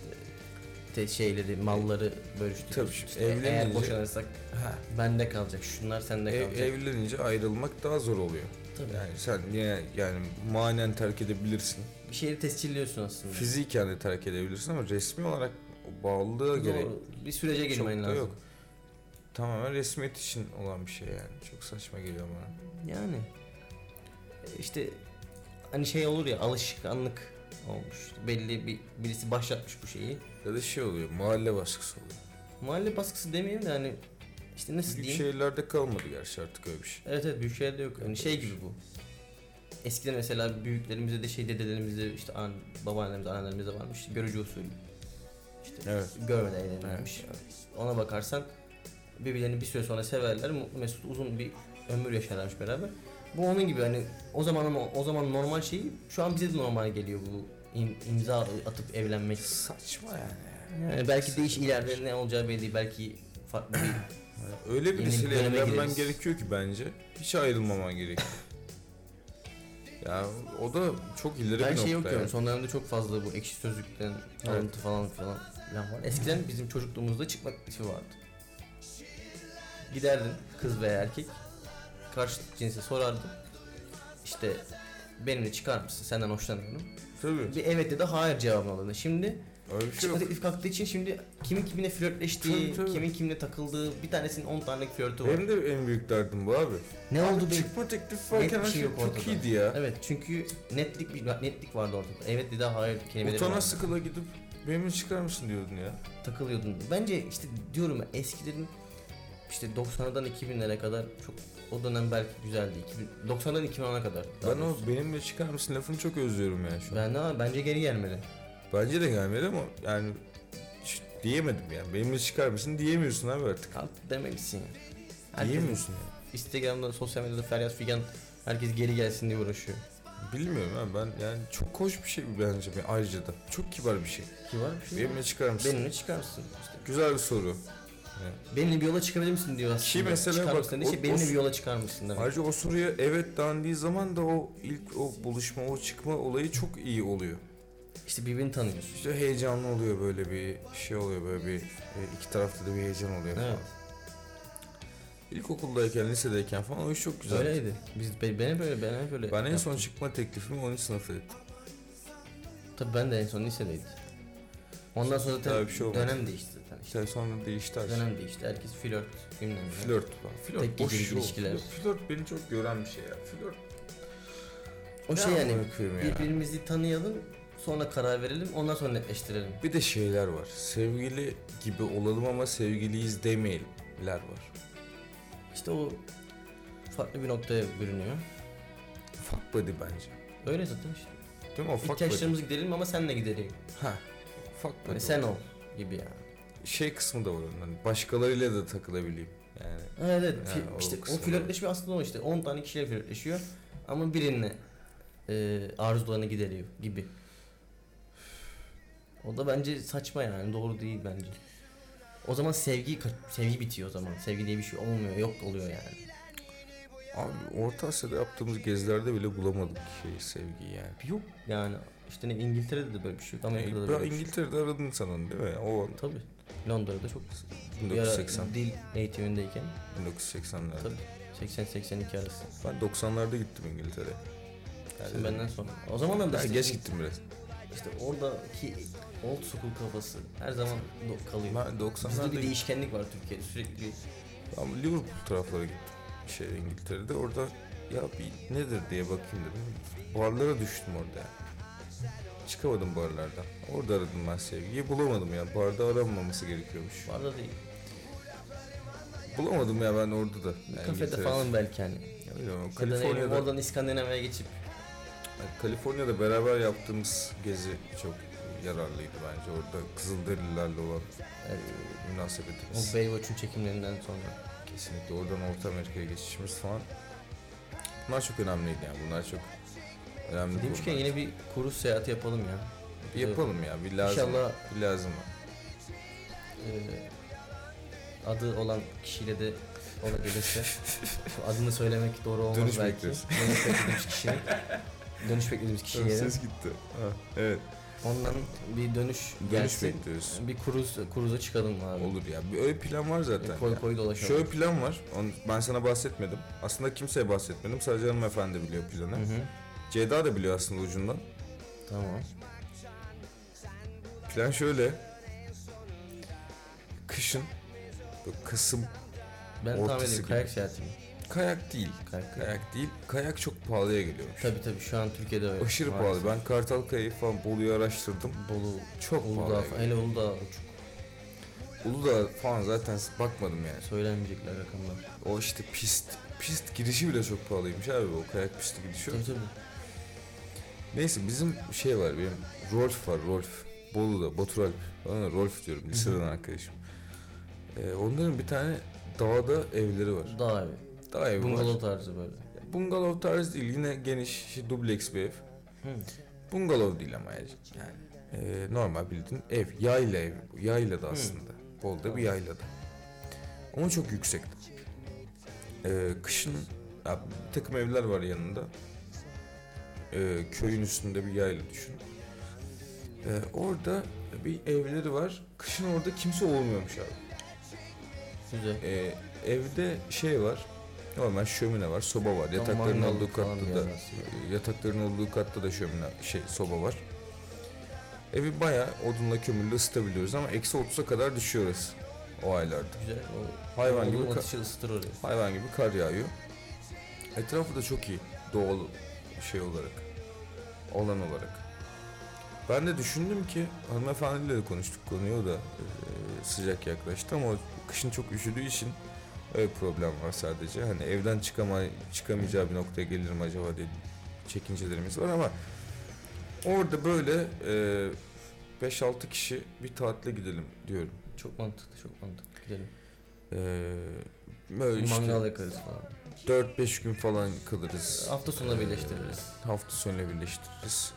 Speaker 2: te- şeyleri, malları bölüştük.
Speaker 1: Tabii
Speaker 2: İşte
Speaker 1: şimdi evlenince-
Speaker 2: eğer boşanırsak
Speaker 1: Ha,
Speaker 2: bende kalacak, şunlar sende
Speaker 1: ev-
Speaker 2: kalacak.
Speaker 1: evlenince ayrılmak daha zor oluyor.
Speaker 2: Tabii.
Speaker 1: E, Yani sen yine yani manen terk edebilirsin.
Speaker 2: Bir şeyi tescilliyorsun aslında.
Speaker 1: Fiziken de terk edebilirsin ama resmi olarak o bağlılığa gerek
Speaker 2: Doğru. Bir sürece
Speaker 1: Çok
Speaker 2: girmen
Speaker 1: da
Speaker 2: lazım.
Speaker 1: yok. Tamamen resmiyet için olan bir şey yani. Çok saçma geliyor bana.
Speaker 2: Yani e, işte hani şey olur ya alışkanlık olmuş. Belli bir birisi başlatmış bu şeyi.
Speaker 1: Ya da şey oluyor, mahalle baskısı oluyor.
Speaker 2: Mahalle baskısı demeyeyim de hani işte nasıl
Speaker 1: Büyük
Speaker 2: diyeyim?
Speaker 1: şehirlerde kalmadı gerçi artık öyle bir şey.
Speaker 2: Evet evet büyük şehirde yok. Hani şey gibi bu. Eskiden mesela büyüklerimizde de şey dedelerimizde işte an, babaannemizde anneannemizde varmış görücü usulü. İşte
Speaker 1: Evet.
Speaker 2: görmeden evlenirmiş. Ona bakarsan birbirlerini bir süre sonra severler. Mutlu Mesut uzun bir ömür yaşarlarmış beraber. Bu onun gibi hani o zaman ama o zaman normal şeyi şu an bize de normal geliyor bu im- imza atıp evlenmek.
Speaker 1: Saçma yani.
Speaker 2: Yani belki de iş ileride ne olacağı belli değil. Belki farklı bir
Speaker 1: Yani Öyle
Speaker 2: Yeni
Speaker 1: birisiyle
Speaker 2: bir döneme
Speaker 1: evlenmen
Speaker 2: gireriz.
Speaker 1: gerekiyor ki bence. Hiç ayrılmaman gerekiyor. ya o da çok ileri
Speaker 2: Ben
Speaker 1: bir
Speaker 2: şey
Speaker 1: nokta.
Speaker 2: okuyorum.
Speaker 1: yani.
Speaker 2: Son dönemde çok fazla bu ekşi sözlükten alıntı falan filan filan var. Eskiden bizim çocukluğumuzda çıkma teklifi vardı. Giderdin kız veya erkek. Karşı cinse sorardın. İşte benimle çıkar mısın? Senden hoşlanıyorum.
Speaker 1: Tabii.
Speaker 2: Bir evet ya da hayır cevabını alırdı. Şimdi
Speaker 1: Öyle bir şey
Speaker 2: çıkma
Speaker 1: yok.
Speaker 2: teklifi kalktığı için şimdi kimin kiminle flörtleştiği,
Speaker 1: Tabii, tabii.
Speaker 2: kimin kimle takıldığı, bir tanesinin 10 tane flörtü var.
Speaker 1: Benim de en büyük derdim bu abi.
Speaker 2: Ne oldu benim?
Speaker 1: Çıkma teklifi
Speaker 2: Net
Speaker 1: varken
Speaker 2: bir
Speaker 1: her
Speaker 2: şey
Speaker 1: şey
Speaker 2: yok
Speaker 1: çok
Speaker 2: ortada.
Speaker 1: iyiydi ya.
Speaker 2: Evet çünkü netlik bir netlik vardı ortada. Evet dedi hayır kelimeleri
Speaker 1: Utana
Speaker 2: vardı.
Speaker 1: sıkıla gidip benimle çıkar mısın diyordun ya.
Speaker 2: takılıyordun. Bence işte diyorum ya eskilerin işte 90'dan 2000'lere kadar çok o dönem belki güzeldi. 2000, 90'dan 2010'a kadar. daha
Speaker 1: Ben o
Speaker 2: doğrusu.
Speaker 1: benimle çıkar mısın lafını çok özlüyorum yani şu an.
Speaker 2: ben de bence geri gelmedi.
Speaker 1: Bence de gelmedi ama yani hiç diyemedim yani. Benimle çıkar mısın diyemiyorsun abi artık.
Speaker 2: Kalk demelisin ya. Herkes
Speaker 1: Diyemiyorsun yani.
Speaker 2: Instagram'da, sosyal medyada Feryat Figan herkes geri gelsin diye uğraşıyor.
Speaker 1: Bilmiyorum abi ben yani çok hoş bir şey bence bir- ayrıca da. Çok kibar bir şey.
Speaker 2: Ki var bir şey.
Speaker 1: Benimle çıkar mısın?
Speaker 2: Benimle çıkar mısın? İşte.
Speaker 1: Güzel bir soru.
Speaker 2: Benimle bir yola çıkabilir misin diyor aslında.
Speaker 1: mesela
Speaker 2: çıkar
Speaker 1: bak,
Speaker 2: mısın? Işte,
Speaker 1: o-
Speaker 2: benimle
Speaker 1: o-
Speaker 2: bir yola çıkar mısın demek.
Speaker 1: Ayrıca o soruya evet dendiği zaman da o ilk o buluşma, o çıkma olayı çok iyi oluyor.
Speaker 2: İşte birbirini tanıyorsun.
Speaker 1: İşte heyecanlı oluyor böyle bir şey oluyor böyle bir e, iki tarafta da bir heyecan oluyor falan.
Speaker 2: Evet.
Speaker 1: İlkokuldayken, lisedeyken falan o iş çok güzel.
Speaker 2: Öyleydi. Biz ben, ben hep öyle ben hep öyle.
Speaker 1: Ben en
Speaker 2: yaptım.
Speaker 1: son çıkma teklifimi 10. sınıfta ettim.
Speaker 2: Tabii ben de en son lisedeydim. Ondan sonra
Speaker 1: Daha
Speaker 2: zaten
Speaker 1: bir şey olmadı.
Speaker 2: dönem değişti zaten. işte.
Speaker 1: İşte sonra değişti her şey.
Speaker 2: Dönem değişti. Herkes flört bilmem ne.
Speaker 1: Flört falan. Flört
Speaker 2: Tek
Speaker 1: boş
Speaker 2: gecelik
Speaker 1: iş oğlum.
Speaker 2: ilişkiler.
Speaker 1: Flört, flört beni çok gören bir şey ya. Flört.
Speaker 2: O şey yani
Speaker 1: Bir,
Speaker 2: birbirimizi tanıyalım, sonra karar verelim, ondan sonra netleştirelim.
Speaker 1: bir de şeyler var. Sevgili gibi olalım ama sevgiliyiz demeyelimler var.
Speaker 2: İşte o farklı bir noktaya bürünüyor.
Speaker 1: Fuck buddy bence.
Speaker 2: Öyle zaten işte.
Speaker 1: Değil mi? O fuck buddy.
Speaker 2: İhtiyaçlarımızı giderelim ama senle giderelim.
Speaker 1: Ha. Fuck buddy.
Speaker 2: Hani sen
Speaker 1: var.
Speaker 2: ol gibi yani.
Speaker 1: Şey kısmı da var onun. Hani başkalarıyla da takılabileyim. Yani
Speaker 2: Evet evet.
Speaker 1: Ha,
Speaker 2: Fi-
Speaker 1: o
Speaker 2: işte o
Speaker 1: kısmı.
Speaker 2: flörtleşme aslında o işte. 10 tane kişiyle flörtleşiyor ama birinle e, arzularını gideriyor gibi. O da bence saçma yani doğru değil bence. O zaman sevgi ka- sevgi bitiyor o zaman. Sevgi diye bir şey olmuyor, yok oluyor yani.
Speaker 1: Abi Orta Asya'da yaptığımız gezilerde bile bulamadık şey, sevgiyi yani.
Speaker 2: Yok yani işte ne İngiltere'de de böyle bir şey yok.
Speaker 1: Ben
Speaker 2: Amerika'da da böyle bir şey yok.
Speaker 1: İngiltere'de aradın sanın değil mi? O
Speaker 2: Tabii. Londra'da çok bir ara
Speaker 1: 1980.
Speaker 2: dil eğitimindeyken
Speaker 1: 1980'lerde.
Speaker 2: Tabii. 80-82 arası.
Speaker 1: Ben 90'larda gittim İngiltere'ye.
Speaker 2: Sen benden sonra. O zaman da
Speaker 1: Ben
Speaker 2: işte,
Speaker 1: geç gittim biraz.
Speaker 2: İşte oradaki old school kafası her zaman do- kalıyor.
Speaker 1: Ben
Speaker 2: Bizde
Speaker 1: 90'larda
Speaker 2: bir
Speaker 1: gittim.
Speaker 2: değişkenlik var Türkiye'de sürekli. bir-
Speaker 1: Ama Liverpool taraflara gittim. Şey İngiltere'de orada ya bir nedir diye bakayım dedim. Barlara düştüm orada. yani. Çıkamadım barlardan. Orada aradım ben sevgiyi. Bulamadım ya. Barda aranmaması gerekiyormuş.
Speaker 2: Var da değil.
Speaker 1: Bulamadım ya ben orada da. Yani
Speaker 2: Bir kafede
Speaker 1: İngiltere'de.
Speaker 2: falan belki hani.
Speaker 1: Öyle ama
Speaker 2: Ya da ne bileyim,
Speaker 1: Kaliforniya'da,
Speaker 2: oradan İskandinavya'ya geçip
Speaker 1: Kaliforniya'da beraber yaptığımız gezi çok yararlıydı bence. Orada Kızılderililerle olan e,
Speaker 2: evet,
Speaker 1: münasebetimiz.
Speaker 2: o Baywatch'un çekimlerinden sonra.
Speaker 1: Kesinlikle oradan Orta Amerika'ya geçişimiz falan. Bunlar çok önemliydi yani. Bunlar çok önemli
Speaker 2: Demişken
Speaker 1: konular.
Speaker 2: yine bir kuru seyahati yapalım ya.
Speaker 1: Bir yapalım ya. Bir lazım.
Speaker 2: İnşallah
Speaker 1: Bir lazım.
Speaker 2: e, adı olan kişiyle de ona
Speaker 1: [laughs]
Speaker 2: gelirse adını söylemek doğru olmaz
Speaker 1: Dönüş
Speaker 2: belki.
Speaker 1: bekliyoruz.
Speaker 2: Dönüş
Speaker 1: [laughs]
Speaker 2: beklediğimiz kişinin. Dönüş beklediğimiz kişiye gelin.
Speaker 1: gitti. Ha, evet.
Speaker 2: Ondan bir dönüş
Speaker 1: Dönüş
Speaker 2: gelsin.
Speaker 1: bekliyoruz.
Speaker 2: Bir kuruz, kuruza çıkalım abi.
Speaker 1: Olur ya. Bir öyle plan var zaten.
Speaker 2: E, koy
Speaker 1: ya.
Speaker 2: koy dolaşalım.
Speaker 1: Şöyle plan var. Onu ben sana bahsetmedim. Aslında kimseye bahsetmedim. Sadece hanımefendi biliyor planı.
Speaker 2: Hı hı.
Speaker 1: Ceyda da biliyor aslında ucundan.
Speaker 2: Tamam.
Speaker 1: Plan şöyle. Kışın böyle Kasım
Speaker 2: Ben tahmin
Speaker 1: Ortası
Speaker 2: ediyorum
Speaker 1: gibi.
Speaker 2: kayak seyahati mi?
Speaker 1: kayak değil.
Speaker 2: Kayak.
Speaker 1: Kayak değil. Kayak çok pahalıya geliyormuş.
Speaker 2: Tabii tabii şu an Türkiye'de öyle.
Speaker 1: Aşırı
Speaker 2: Maalesef.
Speaker 1: pahalı. Ben Kartal Kaya'yı falan Bolu'yu araştırdım.
Speaker 2: Bolu,
Speaker 1: Çok
Speaker 2: Uludağ
Speaker 1: pahalıya
Speaker 2: falan.
Speaker 1: geliyor.
Speaker 2: Hele Uludağ uçuk.
Speaker 1: Uludağ falan zaten bakmadım yani.
Speaker 2: Söylenmeyecekler rakamlar.
Speaker 1: O işte pist pist girişi bile çok pahalıymış abi o kayak pisti girişi.
Speaker 2: Tabii tabii.
Speaker 1: Neyse bizim şey var benim Rolf var Rolf. Bolu'da Batur Alp. Bana Rolf diyorum liseden arkadaşım. Ee, onların bir tane dağda evleri var.
Speaker 2: Dağ evi.
Speaker 1: Dağ evi var.
Speaker 2: Bungalov tarzı böyle.
Speaker 1: Bungalov tarzı değil yine geniş şey, dubleks bir ev.
Speaker 2: Hı.
Speaker 1: Bungalov değil ama yani. yani e, normal bildiğin ev. Yayla ev. bu. Yayla da aslında. Bolu'da bir yayla da. Ama çok yüksekti. E, kışın ya, bir takım evler var yanında. E, köyün üstünde bir yayla düşün. E, orada bir evleri var. Kışın orada kimse olmuyormuş abi.
Speaker 2: Güzel.
Speaker 1: E, evde şey var. Normal şömine var, soba var. Yatakların
Speaker 2: mangal
Speaker 1: olduğu
Speaker 2: falan
Speaker 1: katta
Speaker 2: bir
Speaker 1: da
Speaker 2: yer aslında.
Speaker 1: e, yatakların olduğu katta da şömine şey soba var. Evi bayağı odunla kömürle ısıtabiliyoruz ama eksi 30'a kadar düşüyor orası o aylarda.
Speaker 2: Güzel. O,
Speaker 1: Hayvan
Speaker 2: Onun
Speaker 1: gibi ka-
Speaker 2: atışı ısıtır orayı.
Speaker 1: hayvan gibi kar yağıyor. Etrafı da çok iyi doğal şey olarak, olan olarak. Ben de düşündüm ki hanımefendiyle de konuştuk konuyu o da e, sıcak yaklaştı ama kışın çok üşüdüğü için öyle problem var sadece. Hani evden çıkama, çıkamayacağı bir noktaya gelir mi acaba diye çekincelerimiz var ama orada böyle e, 5-6 kişi bir tatile gidelim diyorum.
Speaker 2: Çok mantıklı çok mantıklı. Gidelim.
Speaker 1: E, böyle işte-
Speaker 2: Mangal yakarız falan.
Speaker 1: 4-5 gün falan kalırız.
Speaker 2: Hafta sonunda birleştiririz.
Speaker 1: Hafta sonuyla birleştiririz.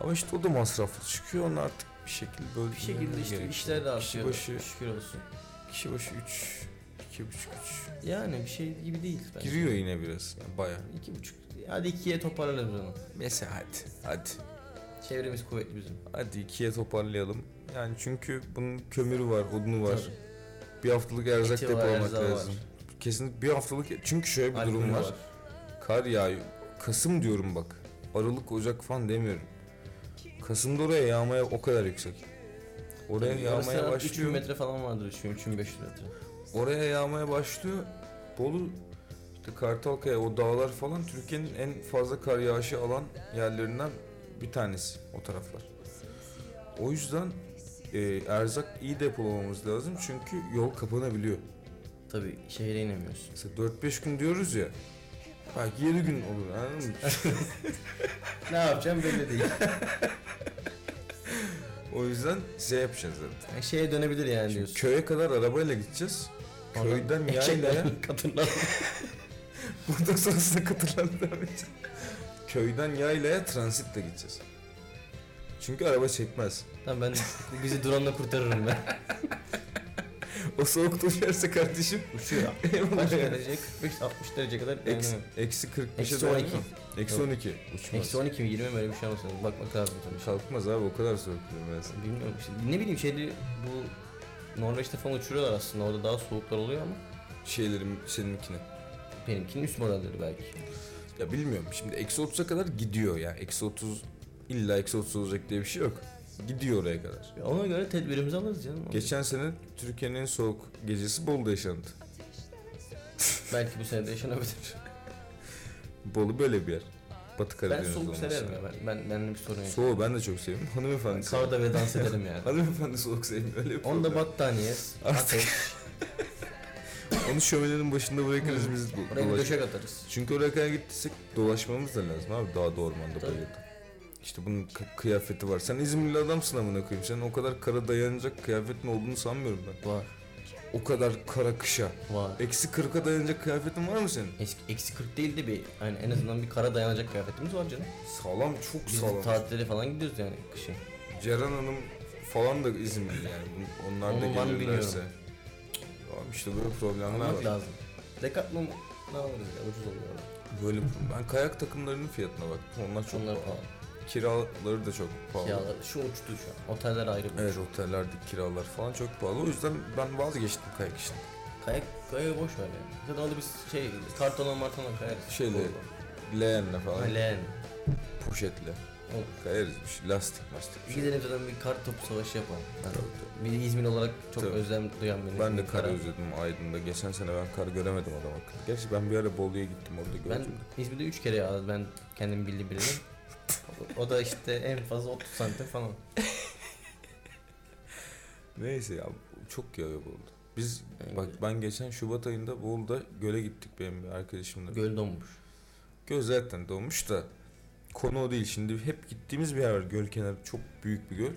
Speaker 1: Ama işte o da masraflı çıkıyor. Onu artık bir şekilde böyle
Speaker 2: Bir şekilde işte işler de
Speaker 1: Kişi
Speaker 2: artıyor.
Speaker 1: başı,
Speaker 2: Şükür olsun.
Speaker 1: kişi başı 3, 2,5 3.
Speaker 2: Yani bir şey gibi değil. bence.
Speaker 1: Giriyor yine biraz. Yani bayağı.
Speaker 2: İki buçuk. Hadi ikiye toparlarız onu.
Speaker 1: Mesela hadi. Hadi.
Speaker 2: Çevremiz kuvvetli bizim.
Speaker 1: Hadi ikiye toparlayalım. Yani çünkü bunun kömürü var, odunu var.
Speaker 2: Tabii.
Speaker 1: Bir haftalık erzak
Speaker 2: Eti var,
Speaker 1: depolamak
Speaker 2: erzağı var.
Speaker 1: lazım. Kesinlikle bir haftalık. Çünkü şöyle bir durum
Speaker 2: Alkolü
Speaker 1: var. Kar yağıyor. Kasım diyorum bak. Aralık, Ocak falan demiyorum. Kasım'da oraya yağmaya o kadar yüksek. Oraya
Speaker 2: Tabii,
Speaker 1: yağmaya
Speaker 2: arası 3000
Speaker 1: başlıyor.
Speaker 2: metre falan vardır 3000 3500 metre.
Speaker 1: Oraya yağmaya başlıyor. Bolu işte Kartalkaya o dağlar falan Türkiye'nin en fazla kar yağışı alan yerlerinden bir tanesi o taraflar. O yüzden e, erzak iyi depolamamız lazım çünkü yol kapanabiliyor.
Speaker 2: Tabii şehre inemiyorsun.
Speaker 1: Mesela 4-5 gün diyoruz ya. Belki 7 gün olur anladın mı?
Speaker 2: ne yapacağım belli değil.
Speaker 1: o yüzden şey yapacağız zaten.
Speaker 2: [laughs] Yani şeye dönebilir yani
Speaker 1: Şimdi
Speaker 2: diyorsun.
Speaker 1: köye kadar arabayla gideceğiz.
Speaker 2: Oradan [laughs]
Speaker 1: Köyden [laughs] yaylaya,
Speaker 2: Eşekler kadınlar.
Speaker 1: buradan sonrasında katılan devam edeceğiz. Köyden yaylaya transitle gideceğiz. Çünkü araba çekmez. [laughs]
Speaker 2: Tamam ben bizi drone'la kurtarırım ben.
Speaker 1: o soğukta uçarsa kardeşim. [laughs]
Speaker 2: Uçuyor.
Speaker 1: Eyvallah
Speaker 2: Kaç
Speaker 1: yani.
Speaker 2: derece? 45-60 derece kadar.
Speaker 1: Eksi,
Speaker 2: dayanıyor.
Speaker 1: eksi 45'e
Speaker 2: Eksi
Speaker 1: dayanıyor
Speaker 2: 12.
Speaker 1: mu? Eksi
Speaker 2: Yok.
Speaker 1: 12. Uçmaz.
Speaker 2: Eksi 12 mi 20 mi öyle bir şey olmasın. Bakmak lazım tabii. Şal-
Speaker 1: Kalkmaz abi o kadar soğuk diyorum ben sana.
Speaker 2: Bilmiyorum işte. Ne bileyim şeyleri bu Norveç'te falan uçuruyorlar aslında. Orada daha soğuklar oluyor ama
Speaker 1: Şeylerim seninkine.
Speaker 2: benimkinin üst modelleri belki.
Speaker 1: Ya bilmiyorum şimdi eksi 30'a kadar gidiyor yani. Eksi 30 illa eksi 30 olacak diye bir şey yok. Gidiyor oraya kadar.
Speaker 2: Ya Ona göre tedbirimizi alırız canım.
Speaker 1: Geçen sene Türkiye'nin en soğuk gecesi Bolu'da yaşandı.
Speaker 2: Belki bu sene
Speaker 1: [laughs]
Speaker 2: de yaşanabilir.
Speaker 1: Bolu böyle bir yer. Batı
Speaker 2: ben
Speaker 1: Karadeniz
Speaker 2: soğuk
Speaker 1: olması.
Speaker 2: severim ya. Ben, ben, benimle bir sorun yok.
Speaker 1: Soğuğu ben de çok seviyorum. Hanımefendi
Speaker 2: Ben
Speaker 1: seviyorum. [laughs]
Speaker 2: Karda ve dans ederim yani.
Speaker 1: Hanımefendi soğuk sevmiyor. Öyle bir
Speaker 2: Onda
Speaker 1: problem.
Speaker 2: battaniye,
Speaker 1: Artık- [laughs]
Speaker 2: ateş,
Speaker 1: Onu şöminenin başında bırakırız biz. bu-
Speaker 2: Hmm. oraya bir
Speaker 1: dolaş-
Speaker 2: döşek atarız.
Speaker 1: Çünkü oraya kadar gittiysek dolaşmamız da lazım abi dağda ormanda
Speaker 2: Tabii.
Speaker 1: bayırda. İşte bunun kı- kıyafeti var. Sen İzmirli adamsın amına koyayım. Sen o kadar kara dayanacak kıyafetin olduğunu sanmıyorum ben.
Speaker 2: Var,
Speaker 1: O kadar kara kışa.
Speaker 2: var.
Speaker 1: Eksi 40'a dayanacak kıyafetin var mı senin?
Speaker 2: Eski, eksi 40 değil de bir, yani en azından bir kara dayanacak kıyafetimiz var canım.
Speaker 1: Sağlam çok
Speaker 2: Biz
Speaker 1: sağlam.
Speaker 2: tatillere falan gidiyoruz yani kışın.
Speaker 1: Ceren Hanım falan da İzmirli yani. Bun- Onlar da
Speaker 2: Onun var mı
Speaker 1: gelirlerse.
Speaker 2: bilmiyorum.
Speaker 1: Abi işte böyle problemler
Speaker 2: Anlamak
Speaker 1: var.
Speaker 2: lazım. Decathlon ne alırız ya ucuz oluyor. orada.
Speaker 1: Böyle ben kayak takımlarının fiyatına baktım. Onlar çok
Speaker 2: Onlar
Speaker 1: pahalı.
Speaker 2: pahalı.
Speaker 1: Kiraları da çok pahalı.
Speaker 2: Kiralar, şu uçtu şu an. Oteller ayrı bu.
Speaker 1: Evet otellerdeki kiralar falan çok pahalı. O yüzden ben vazgeçtim kayak işinden.
Speaker 2: Kayak, kayağı boş ver ya. Zaten orada biz şey, kartona martona kayarız.
Speaker 1: Şeyle,
Speaker 2: Doğru.
Speaker 1: Leğenle falan,
Speaker 2: Alen.
Speaker 1: poşetle
Speaker 2: Olur.
Speaker 1: kayarız bir şey. Lastik mastik bir şey.
Speaker 2: Gidelim zaten bir kar topu savaşı yapalım.
Speaker 1: Tabii, tabii.
Speaker 2: Bir İzmir olarak çok
Speaker 1: Tabii.
Speaker 2: özlem duyan biri.
Speaker 1: Ben de kar
Speaker 2: Kara.
Speaker 1: özledim Aydın'da. Geçen sene ben kar göremedim adam hakkında. Gerçi ben bir ara Bolu'ya gittim orada
Speaker 2: Ben
Speaker 1: gördüm.
Speaker 2: İzmir'de 3 kere yağdı. Ben kendim bildiğim birini. O- o da işte en fazla 30 santim falan.
Speaker 1: Neyse ya çok yağıyor Bolu'da. Biz [laughs]
Speaker 2: Yani
Speaker 1: bak ben geçen Şubat ayında Bolu'da göle gittik benim bir arkadaşımla.
Speaker 2: Göl donmuş.
Speaker 1: Göl zaten dolmuş da konu o değil. Şimdi hep gittiğimiz bir yer var. Göl kenarı çok büyük bir göl.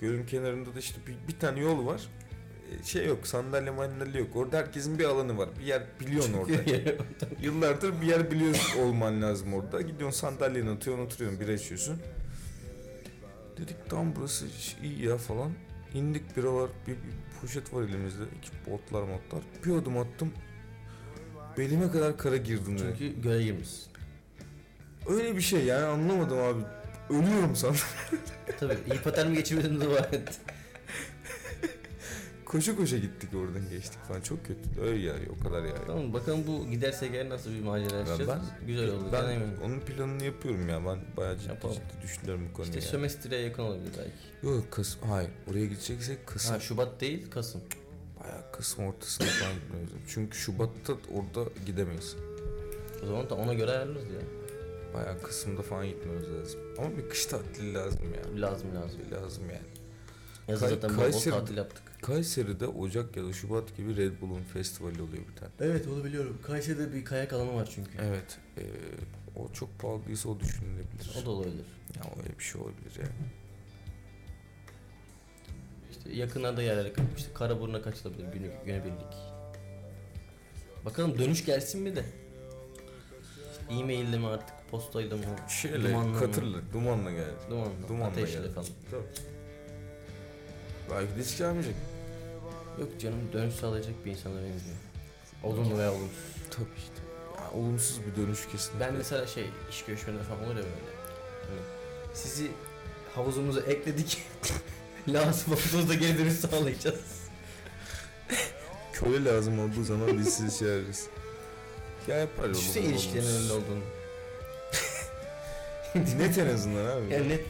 Speaker 1: Gölün kenarında da işte bir, bir tane yol var. Ee, Şey yok sandalye mandalye yok. Orada herkesin bir alanı var. Bir yer biliyorsun orada.
Speaker 2: [laughs]
Speaker 1: Yıllardır bir yer biliyorsun olman lazım orada. Gidiyorsun sandalyeni atıyorsun oturuyorsun bira içiyorsun. Dedik tam burası ş- iyi ya falan. İndik bira var bir, bir poşet var elimizde. iki botlar motlar. Bir adım attım. Belime kadar kara girdim direkt.
Speaker 2: Çünkü göle girmiş.
Speaker 1: Öyle bir şey yani anlamadım abi. Ölüyorum sandım. [laughs]
Speaker 2: Tabii hipotermi geçirmedim dua et.
Speaker 1: koşa koşa gittik oradan geçtik falan. Çok kötü. Öyle ya o kadar ya.
Speaker 2: Tamam bakalım bu giderse gel nasıl bir macera yaşayacağız.
Speaker 1: ben-
Speaker 2: Güzel olur. Ben,
Speaker 1: Ben onun planını yapıyorum ya. Ben bayağı ciddi
Speaker 2: Yapalım.
Speaker 1: ciddi düşünüyorum bu konuyu.
Speaker 2: İşte
Speaker 1: yani.
Speaker 2: sömestreye yakın olabilir belki.
Speaker 1: Yok Kasım. Hayır. Oraya gideceksek Kasım.
Speaker 2: Ha Şubat değil Kasım.
Speaker 1: Bayağı Kasım ortasına falan gitmemiz lazım. Çünkü Şubat'ta orada gidemeyiz.
Speaker 2: O zaman da ona göre ayarlarız ya.
Speaker 1: Bayağı Kasım'da falan gitmemiz lazım. Ama bir kış tatili lazım yani.
Speaker 2: Lazım lazım.
Speaker 1: Lazım yani.
Speaker 2: Yazın
Speaker 1: Kay-
Speaker 2: zaten bol bol
Speaker 1: Kayseri-
Speaker 2: tatil yaptık.
Speaker 1: Kayseri'de Ocak ya da Şubat gibi Red Bull'un festivali oluyor bir tane.
Speaker 2: Evet onu biliyorum. Kayseri'de bir kayak alanı var çünkü.
Speaker 1: Evet. eee, Ee, o çok pahalıysa o düşünülebilir.
Speaker 2: O da olabilir.
Speaker 1: Ya öyle bir şey olabilir ya.
Speaker 2: İşte yakınlarda yerlere kaçıp işte Karaburun'a kaçılabilir günü, günübirlik. Bakalım dönüş gelsin mi de. İşte e-mail'de mi artık postayla mı?
Speaker 1: Şeyle
Speaker 2: Dumanla mı?
Speaker 1: katırlı, dumanla geldi.
Speaker 2: Dumanla,
Speaker 1: Dumanla
Speaker 2: ateşle
Speaker 1: geldi.
Speaker 2: falan.
Speaker 1: Tabii. Belki de hiç gelmeyecek.
Speaker 2: Yok canım dönüş sağlayacak bir insana benziyor. Olumlu veya olumsuz.
Speaker 1: Tabii işte. Ya, olumsuz bir dönüş kesin.
Speaker 2: Ben mesela şey iş görüşmeleri falan olur ya böyle. Hani sizi havuzumuza ekledik. [laughs] Lazım olduğunuzda geri dönüş sağlayacağız.
Speaker 1: köle lazım olduğu zaman biz sizi çağırırız. Ya yapar oğlum.
Speaker 2: Düşünsene ilişkilerin
Speaker 1: olumsuz.
Speaker 2: öyle olduğunu.
Speaker 1: [laughs] Net en azından abi.
Speaker 2: Yani net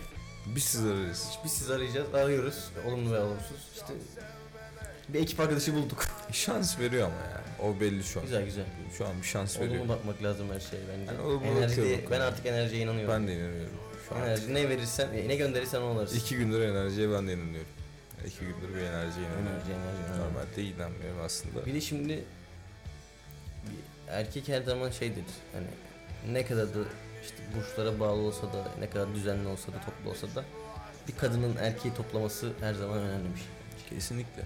Speaker 1: Biz sizi ararız.
Speaker 2: Biz sizi arayacağız, arıyoruz. Olumlu ve olumsuz. İşte bir ekip arkadaşı bulduk.
Speaker 1: Şans veriyor ama ya. O belli şu an.
Speaker 2: Güzel güzel.
Speaker 1: Şu an bir şans veriyor.
Speaker 2: Olumlu bakmak lazım her şeye bence.
Speaker 1: Yani olumlu
Speaker 2: Enerji
Speaker 1: bakıyorum.
Speaker 2: diye- ben artık enerjiye inanıyorum.
Speaker 1: Ben de inanıyorum. Şu an.
Speaker 2: Enerji ne verirsen, ne gönderirsen o alırsın.
Speaker 1: İki gündür enerjiye ben de inanıyorum. İki gündür bir enerjiye inanıyorum.
Speaker 2: Enerji, enerji, enerji.
Speaker 1: Normalde inanmıyorum aslında.
Speaker 2: Bir de şimdi bir erkek her zaman şeydir. Hani ne kadar da işte burçlara bağlı olsa da, ne kadar düzenli olsa da, toplu olsa da bir kadının erkeği toplaması her zaman önemli bir şey.
Speaker 1: Kesinlikle.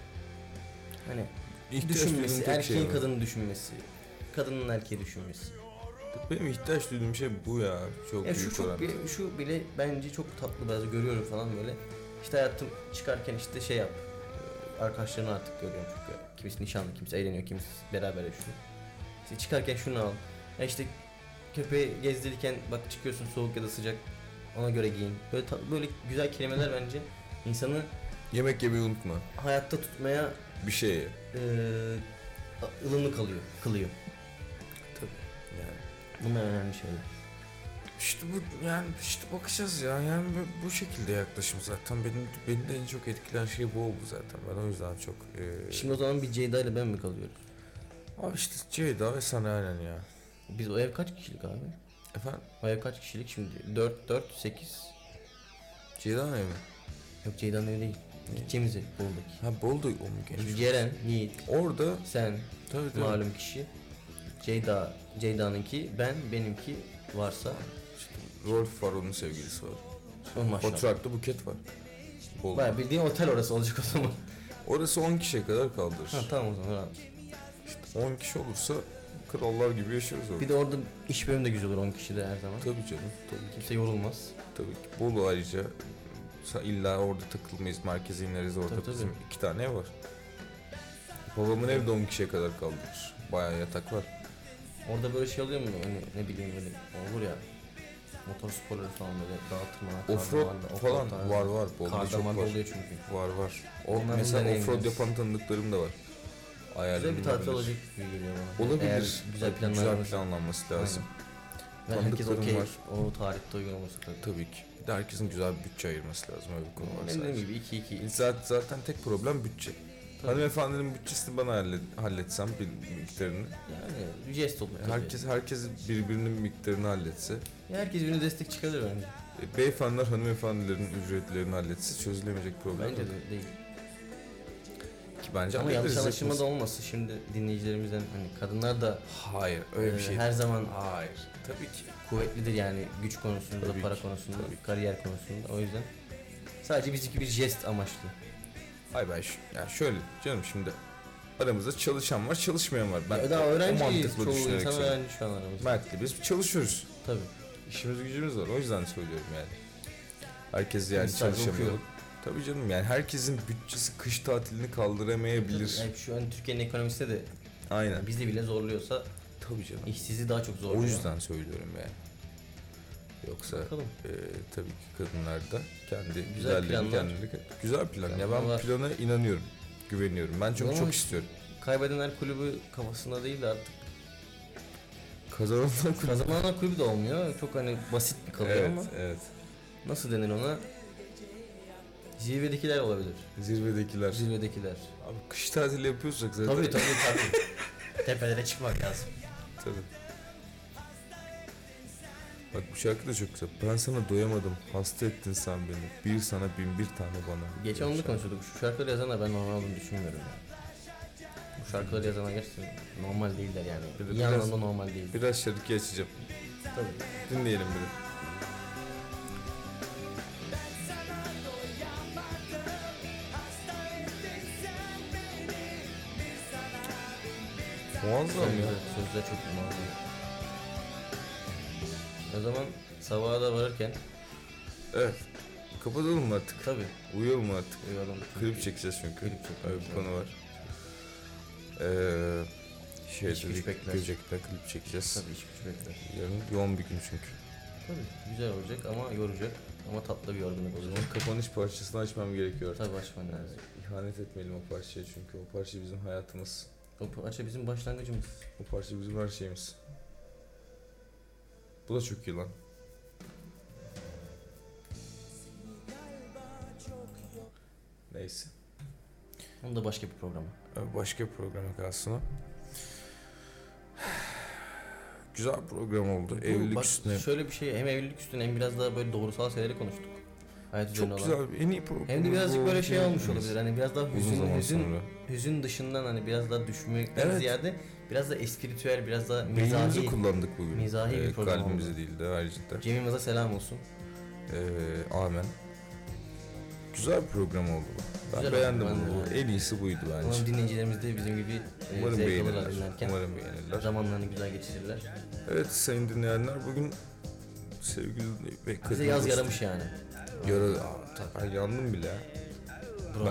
Speaker 2: Hani
Speaker 1: İhtiyaç
Speaker 2: düşünmesi,
Speaker 1: duyduğum tek şey
Speaker 2: erkeğin
Speaker 1: var.
Speaker 2: kadını düşünmesi, kadının erkeği düşünmesi.
Speaker 1: Benim ihtiyaç duyduğum şey bu ya. Çok
Speaker 2: Ya şu
Speaker 1: büyük
Speaker 2: çok
Speaker 1: oranda.
Speaker 2: bir, şu bile bence çok tatlı bazı görüyorum falan böyle. İşte hayatım çıkarken işte şey yap. e, arkadaşlarını artık görüyorum çünkü. Kimisi nişanlı, kimisi eğleniyor, kimisi beraber yaşıyor. İşte çıkarken şunu al. Ya işte köpeği gezdirirken bak çıkıyorsun soğuk ya da sıcak ona göre giyin. Böyle ta- böyle güzel kelimeler bence insanı
Speaker 1: Yemek yemeyi unutma.
Speaker 2: hayatta tutmaya
Speaker 1: Bir şey ye.
Speaker 2: eee ılımlı kalıyor, kılıyor.
Speaker 1: Yani.
Speaker 2: Bunlar önemli şeyler.
Speaker 1: İşte bu yani işte bakacağız ya yani bu, bu şekilde yaklaşım zaten benim beni de en çok etkilen şey bu oldu zaten ben o yüzden çok e,
Speaker 2: Şimdi o zaman bir Ceyda ile ben mi kalıyoruz?
Speaker 1: abi işte Ceyda ve sana aynen ya
Speaker 2: Biz o ev kaç kişilik abi?
Speaker 1: efendim
Speaker 2: O ev kaç kişilik şimdi? 4, 4, 8.
Speaker 1: Ceyda ne mi?
Speaker 2: Yok Ceyda'nın evi değil. Gideceğimiz ev Bolu'daki.
Speaker 1: Ha Bolu'da o mu
Speaker 2: Biz
Speaker 1: genç?
Speaker 2: Ceren, Yiğit,
Speaker 1: Orada
Speaker 2: sen,
Speaker 1: tabii tabii
Speaker 2: malum kişi. Ceyda, Ceyda'nınki, ben, benimki varsa
Speaker 1: Rolf var onun sevgilisi var.
Speaker 2: o maşallah.
Speaker 1: Oturaklı buket var. Bolu'da.
Speaker 2: Baya bildiğin otel orası olacak o
Speaker 1: [laughs]
Speaker 2: zaman.
Speaker 1: Orası 10 kişiye kadar kaldırır.
Speaker 2: ha tamam o zaman rahat.
Speaker 1: 10 kişi olursa krallar gibi yaşıyoruz orada.
Speaker 2: Bir de orada iş bölümü de güzel olur 10 kişi de her zaman.
Speaker 1: Tabii canım tabii.
Speaker 2: Kimse yorulmaz.
Speaker 1: Tabii ki. Bolu ayrıca sa- illa orada takılmayız, merkeze ineriz orada
Speaker 2: Tabii, tabii.
Speaker 1: bizim iki tane ev var. Babamın evi de 10 kişiye kadar kaldırır. Bayağı yatak var.
Speaker 2: Orada böyle şey oluyor mu? Hani ne bileyim böyle olur ya. Motor sporları falan böyle dağıtma.
Speaker 1: Offroad falan var var. Bolu'da çok
Speaker 2: Kardaman
Speaker 1: var.
Speaker 2: oluyor çünkü.
Speaker 1: Var var. O,
Speaker 2: Onların da
Speaker 1: mesela offroad
Speaker 2: deneyimleriz.
Speaker 1: yapan tanıdıklarım da var.
Speaker 2: Güzel bir tatil
Speaker 1: Ayarlanabilir.
Speaker 2: olacak gibi geliyor bana.
Speaker 1: Olabilir.
Speaker 2: Eğer güzel
Speaker 1: Tabii,
Speaker 2: planlar
Speaker 1: güzel
Speaker 2: varsa.
Speaker 1: planlanması lazım.
Speaker 2: Ve herkes
Speaker 1: Tanıdıklarım
Speaker 2: okey.
Speaker 1: var.
Speaker 2: O tarihte uygun olması tabii.
Speaker 1: Tabii ki. Bir de herkesin güzel bir bütçe ayırması lazım. Öyle bir konu var
Speaker 2: Benim
Speaker 1: sadece. Hani
Speaker 2: dediğim gibi 2 2
Speaker 1: Zaten, zaten tek problem bütçe. Hanımefendinin bütçesini bana hallet- halletsem bir miktarını.
Speaker 2: Yani bir jest olur. tabii.
Speaker 1: Herkes herkes birbirinin miktarını halletse,
Speaker 2: Ya herkes birine destek çıkarır bence.
Speaker 1: e, beyefendiler hanımefendilerin ücretlerini halletse çözülemeyecek problem.
Speaker 2: Bence
Speaker 1: yok.
Speaker 2: de değil.
Speaker 1: Ki bence
Speaker 2: Ama yanlış
Speaker 1: hallederiz
Speaker 2: anlaşılma da
Speaker 1: hepimiz.
Speaker 2: olmasın şimdi dinleyicilerimizden hani kadınlar da
Speaker 1: Hayır, öyle
Speaker 2: e,
Speaker 1: bir şey.
Speaker 2: her zaman
Speaker 1: Hayır. Tabii ki.
Speaker 2: kuvvetlidir yani güç konusunda,
Speaker 1: Tabii
Speaker 2: para
Speaker 1: ki,
Speaker 2: konusunda,
Speaker 1: tabii ki.
Speaker 2: kariyer konusunda. O yüzden sadece bizimki bir jest amaçlı.
Speaker 1: Hayır ben şu, yani şöyle canım şimdi aramızda çalışan var, çalışmayan var. Ben
Speaker 2: Ya daha
Speaker 1: o- o
Speaker 2: öğrenciyiz.
Speaker 1: mantıkla
Speaker 2: Çoğu
Speaker 1: düşünerek
Speaker 2: insan
Speaker 1: söylüyorum.
Speaker 2: öğrenci şu an aramızda.
Speaker 1: Mert'le biz çalışıyoruz.
Speaker 2: Tabii.
Speaker 1: İşimiz gücümüz var. O yüzden söylüyorum yani. Herkes yani
Speaker 2: Biz sadece
Speaker 1: çalışamıyor.
Speaker 2: okuyoruz.
Speaker 1: Tabii canım yani herkesin bütçesi kış tatilini kaldıramayabilir.
Speaker 2: Yani şu an Türkiye'nin ekonomisi de
Speaker 1: Aynen.
Speaker 2: bizi bile zorluyorsa
Speaker 1: Tabii canım.
Speaker 2: işsizi daha çok zorluyor.
Speaker 1: O yüzden söylüyorum yani. Yoksa
Speaker 2: Bakalım.
Speaker 1: e, tabii ki kadınlar da kendi
Speaker 2: Güzel
Speaker 1: güzelliğini
Speaker 2: planlar.
Speaker 1: kendileri... Güzel plan. Ya ben
Speaker 2: Planlar.
Speaker 1: plana inanıyorum. Güveniyorum. Ben çünkü
Speaker 2: Ama-
Speaker 1: çok istiyorum.
Speaker 2: Kaybedenler kulübü kafasında değil de artık
Speaker 1: Kazananlar kulübü.
Speaker 2: kazananlar kulübü de olmuyor. Çok hani basit bir [laughs] kalıyor
Speaker 1: Evet,
Speaker 2: ama
Speaker 1: evet.
Speaker 2: nasıl denir ona? Zirvedekiler olabilir.
Speaker 1: Zirvedekiler.
Speaker 2: Zirvedekiler.
Speaker 1: Abi kış tatili yapıyorsak zaten.
Speaker 2: Tabii tabii tabii. Tepelere çıkmak lazım.
Speaker 1: [laughs] Tabii. Bak bu şarkı da çok güzel. Ben sana doyamadım. Hasta ettin sen beni. Bir sana bin bir tane bana.
Speaker 2: Geçen
Speaker 1: Böyle
Speaker 2: onu
Speaker 1: şarkı.
Speaker 2: konuşuyorduk. Şu şarkıları yazanlar ben normal olduğunu düşünmüyorum. Yani. Bu şarkıları yazanlar gerçekten normal değiller yani.
Speaker 1: Bir de
Speaker 2: İyi
Speaker 1: biraz-
Speaker 2: anlamda normal değiller.
Speaker 1: Biraz şarkı açacağım.
Speaker 2: Tabii.
Speaker 1: Dinleyelim bir. de. Muazzam ya.
Speaker 2: Sözler, sözler çok normal. O zaman sabaha da varırken
Speaker 1: Evet. Kapatalım mı artık?
Speaker 2: tabii
Speaker 1: Uyuyalım mı artık?
Speaker 2: uyuyalım. Çünkü
Speaker 1: Klip çekeceğiz çünkü.
Speaker 2: Klip çekeceğiz.
Speaker 1: Öyle bir konu var. Ee, şey
Speaker 2: İş güç
Speaker 1: dedik,
Speaker 2: bekler.
Speaker 1: Göcek'te klip çekeceğiz.
Speaker 2: Tabii iş güç bekler.
Speaker 1: Yarın yoğun bir gün çünkü.
Speaker 2: Tabii güzel olacak ama yoracak. Ama tatlı bir yorgunluk
Speaker 1: O
Speaker 2: olacak.
Speaker 1: zaman kapanış parçasını açmam gerekiyor.
Speaker 2: Tabii açman lazım.
Speaker 1: İhanet etmeyelim o parçaya çünkü o parça bizim hayatımız.
Speaker 2: O parça bizim başlangıcımız.
Speaker 1: O parça bizim her şeyimiz. Bu da çok iyi lan. Neyse.
Speaker 2: Onu da başka bir programa.
Speaker 1: Başka bir programa kalsın o. [sighs] Güzel bir program oldu.
Speaker 2: Bu
Speaker 1: evlilik
Speaker 2: bak,
Speaker 1: üstüne.
Speaker 2: Şöyle bir şey hem evlilik üstüne hem biraz daha böyle doğrusal şeyleri konuştuk. Hayat üzerine
Speaker 1: Çok
Speaker 2: olan.
Speaker 1: güzel. En iyi program.
Speaker 2: Hem de birazcık böyle şey
Speaker 1: oldu.
Speaker 2: olmuş olabilir. Hani biraz daha
Speaker 1: Uzun
Speaker 2: hüzün,
Speaker 1: zaman
Speaker 2: hüzün,
Speaker 1: sonra.
Speaker 2: hüzün dışından hani biraz daha düşmekten
Speaker 1: Evet.
Speaker 2: ziyade biraz da espritüel, biraz daha
Speaker 1: Beynimizi
Speaker 2: mizahi.
Speaker 1: kullandık bugün. Ee,
Speaker 2: mizahi bir program
Speaker 1: Kalbimizi
Speaker 2: oldu.
Speaker 1: değil de haricinde.
Speaker 2: Cem Yılmaz'a selam olsun.
Speaker 1: Ee, amen. Güzel bir program oldu bu. Ben
Speaker 2: Güzel
Speaker 1: beğendim
Speaker 2: oldu, ben de
Speaker 1: bunu. En iyisi buydu
Speaker 2: Umarım
Speaker 1: bence.
Speaker 2: dinleyicilerimiz de bizim gibi e,
Speaker 1: Umarım
Speaker 2: zevk alırlar
Speaker 1: beğenirler.
Speaker 2: dinlerken.
Speaker 1: Umarım beğenirler.
Speaker 2: Zamanlarını güzel geçirirler.
Speaker 1: Evet sayın dinleyenler bugün sevgili ve kadın
Speaker 2: Bize yaz
Speaker 1: dostu-
Speaker 2: yaramış yani.
Speaker 1: Yara... Aa, tabii, ben yandım bile.
Speaker 2: Bro.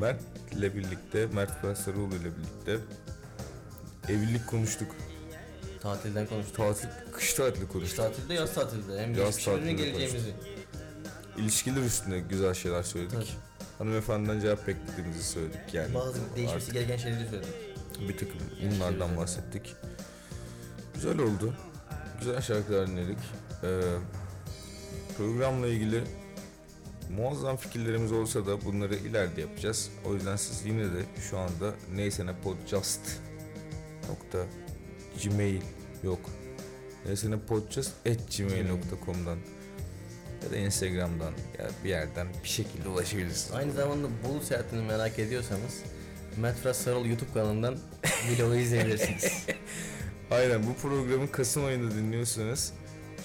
Speaker 1: Mert'le birlikte, Mert Frasaroğlu ile birlikte evlilik konuştuk.
Speaker 2: Tatilden konuştuk.
Speaker 1: Tatil, kış tatili
Speaker 2: Kış
Speaker 1: konuştuk.
Speaker 2: tatilde yaz tatilde. Hem
Speaker 1: Yaz
Speaker 2: geçmişlerine
Speaker 1: tatilinde
Speaker 2: geleceğimizi.
Speaker 1: İlişkiler üstüne güzel şeyler söyledik.
Speaker 2: Tabii.
Speaker 1: Hanımefendiden cevap beklediğimizi söyledik yani.
Speaker 2: Bazı değişmesi
Speaker 1: Artık
Speaker 2: gereken şeyleri söyledik.
Speaker 1: Bir takım bunlardan bahsettik. Güzel oldu. Güzel şarkılar dinledik. Ee, programla ilgili muazzam fikirlerimiz olsa da bunları ileride yapacağız. O yüzden siz yine de şu anda neyse ne podcast nokta gmail yok. Neyse ne podcast at gmail.com'dan ya da instagramdan ya bir yerden bir şekilde ulaşabilirsiniz.
Speaker 2: Aynı zamanda Bolu seyahatini merak ediyorsanız Mert Fırat Sarıl YouTube kanalından [laughs]
Speaker 1: [laughs]
Speaker 2: vlogu izleyebilirsiniz.
Speaker 1: Aynen bu programı Kasım ayında dinliyorsanız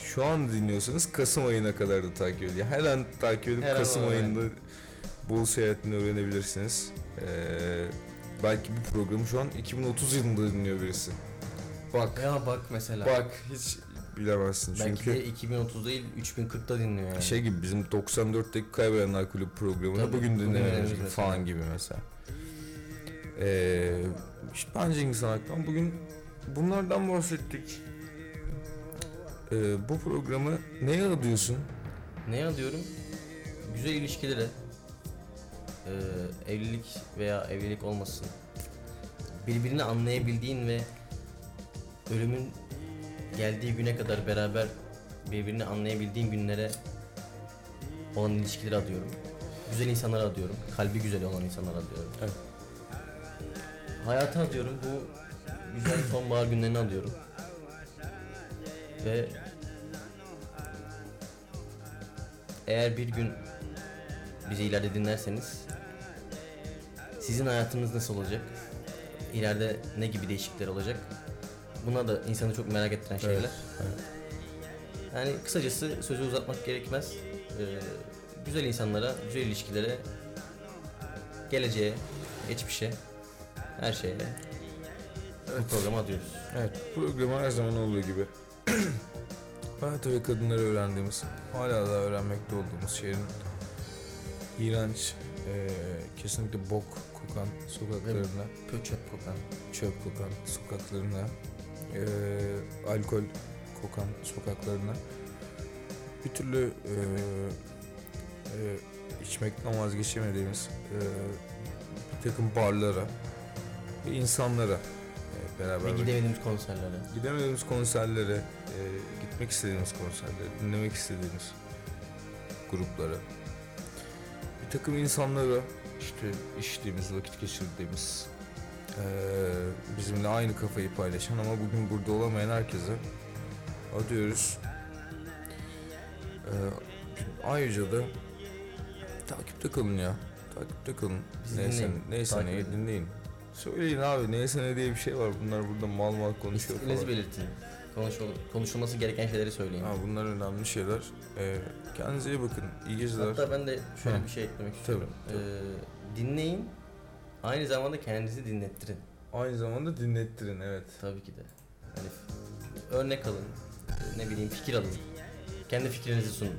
Speaker 1: şu an dinliyorsanız Kasım ayına kadar da takip edin. Her an takip edip
Speaker 2: Her an
Speaker 1: Kasım
Speaker 2: olabilir.
Speaker 1: ayında Bolu seyahatini öğrenebilirsiniz. Ee, belki bu programı şu an 2030 yılında dinliyor birisi. Bak,
Speaker 2: ya bak mesela.
Speaker 1: bak hiç bilemezsin
Speaker 2: Belki
Speaker 1: çünkü
Speaker 2: de 2030 değil 3040'da dinliyor yani.
Speaker 1: şey gibi bizim 94'teki Kaybedenler Kulübü programını
Speaker 2: Tabii,
Speaker 1: bugün
Speaker 2: bugün
Speaker 1: dinlememiz
Speaker 2: dinlemiyoruz
Speaker 1: gibi
Speaker 2: mesela.
Speaker 1: falan gibi mesela. Ee, işte ben Cengiz Anak'tan bugün bunlardan bahsettik. Ee, bu programı neye adıyorsun?
Speaker 2: Neye alıyorum? Güzel ilişkilere. Ee, evlilik veya evlilik olmasın. Birbirini anlayabildiğin ve ölümün geldiği güne kadar beraber birbirini anlayabildiğin günlere olan ilişkileri adıyorum. Güzel insanlara adıyorum. Kalbi güzel olan insanlara adıyorum.
Speaker 1: Evet.
Speaker 2: Hayata adıyorum. Bu güzel sonbahar günlerini adıyorum. Ve Eğer bir gün bizi ileride dinlerseniz sizin hayatınız nasıl olacak? İleride ne gibi değişiklikler olacak? Buna da insanı çok merak ettiren şeyler.
Speaker 1: evet.
Speaker 2: Yani kısacası sözü uzatmak gerekmez. Ee, güzel insanlara, güzel ilişkilere, geleceğe, geçmişe, her şeye bu programı atıyoruz.
Speaker 1: Evet, programı her zaman olduğu gibi. [clears throat] Hayat ve kadınları öğrendiğimiz, hala da öğrenmekte olduğumuz şehrin iğrenç, e, kesinlikle bok kokan sokaklarına
Speaker 2: Çöp kokan.
Speaker 1: çöp kokan sokaklarına, eee, alkol kokan sokaklarına, bir türlü eee, eee, içmekten vazgeçemediğimiz eee, bir takım barlara ve insanlara e, eee, beraber
Speaker 2: Ve
Speaker 1: vakit-
Speaker 2: gidemediğimiz konserlere.
Speaker 1: gidemediğimiz konserlere, e, gitmek istediğimiz konserlere, dinlemek istediğimiz gruplara, bir takım insanlara işte içtiğimiz, vakit geçirdiğimiz, e, bizimle aynı kafayı paylaşan ama bugün burada olamayan herkese adıyoruz. E, ayrıca da takipte kalın ya. Takipte kalın.
Speaker 2: Bizi
Speaker 1: neyse
Speaker 2: dinleyin,
Speaker 1: neyse
Speaker 2: takip
Speaker 1: neyi
Speaker 2: edin.
Speaker 1: dinleyin. Söyleyin abi neyse ne diye bir şey var. Bunlar burada mal mal konuşuyor falan.
Speaker 2: İsteklerinizi belirtin. Konuşul- konuşulması gereken şeyleri söyleyin.
Speaker 1: Ha, bunlar önemli şeyler. Ee, kendinize iyi bakın. İyi geceler.
Speaker 2: Hatta ben de şöyle
Speaker 1: Hı.
Speaker 2: bir şey eklemek
Speaker 1: Tabii,
Speaker 2: istiyorum. Ee, dinleyin. Aynı zamanda kendinizi dinlettirin.
Speaker 1: Aynı zamanda dinlettirin evet.
Speaker 2: Tabii ki de. Hani örnek alın. Ne bileyim fikir alın. Kendi fikrinizi sunun.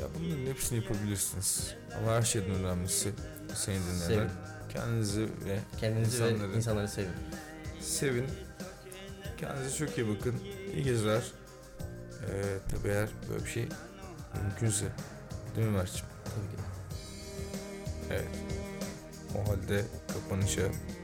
Speaker 1: Ya bunların hepsini yapabilirsiniz. Ama her şeyden önemlisi seni dinleyenler.
Speaker 2: Sevin.
Speaker 1: Kendinizi ve
Speaker 2: Kendinizi
Speaker 1: İnsanları-
Speaker 2: ve insanları sevin.
Speaker 1: sevin. Kendinize çok iyi bakın. İyi geceler. Ee, tabii eğer böyle bir şey mümkünse. Değil mi Mert'ciğim?
Speaker 2: Tabii ki de.
Speaker 1: O halde kapanışa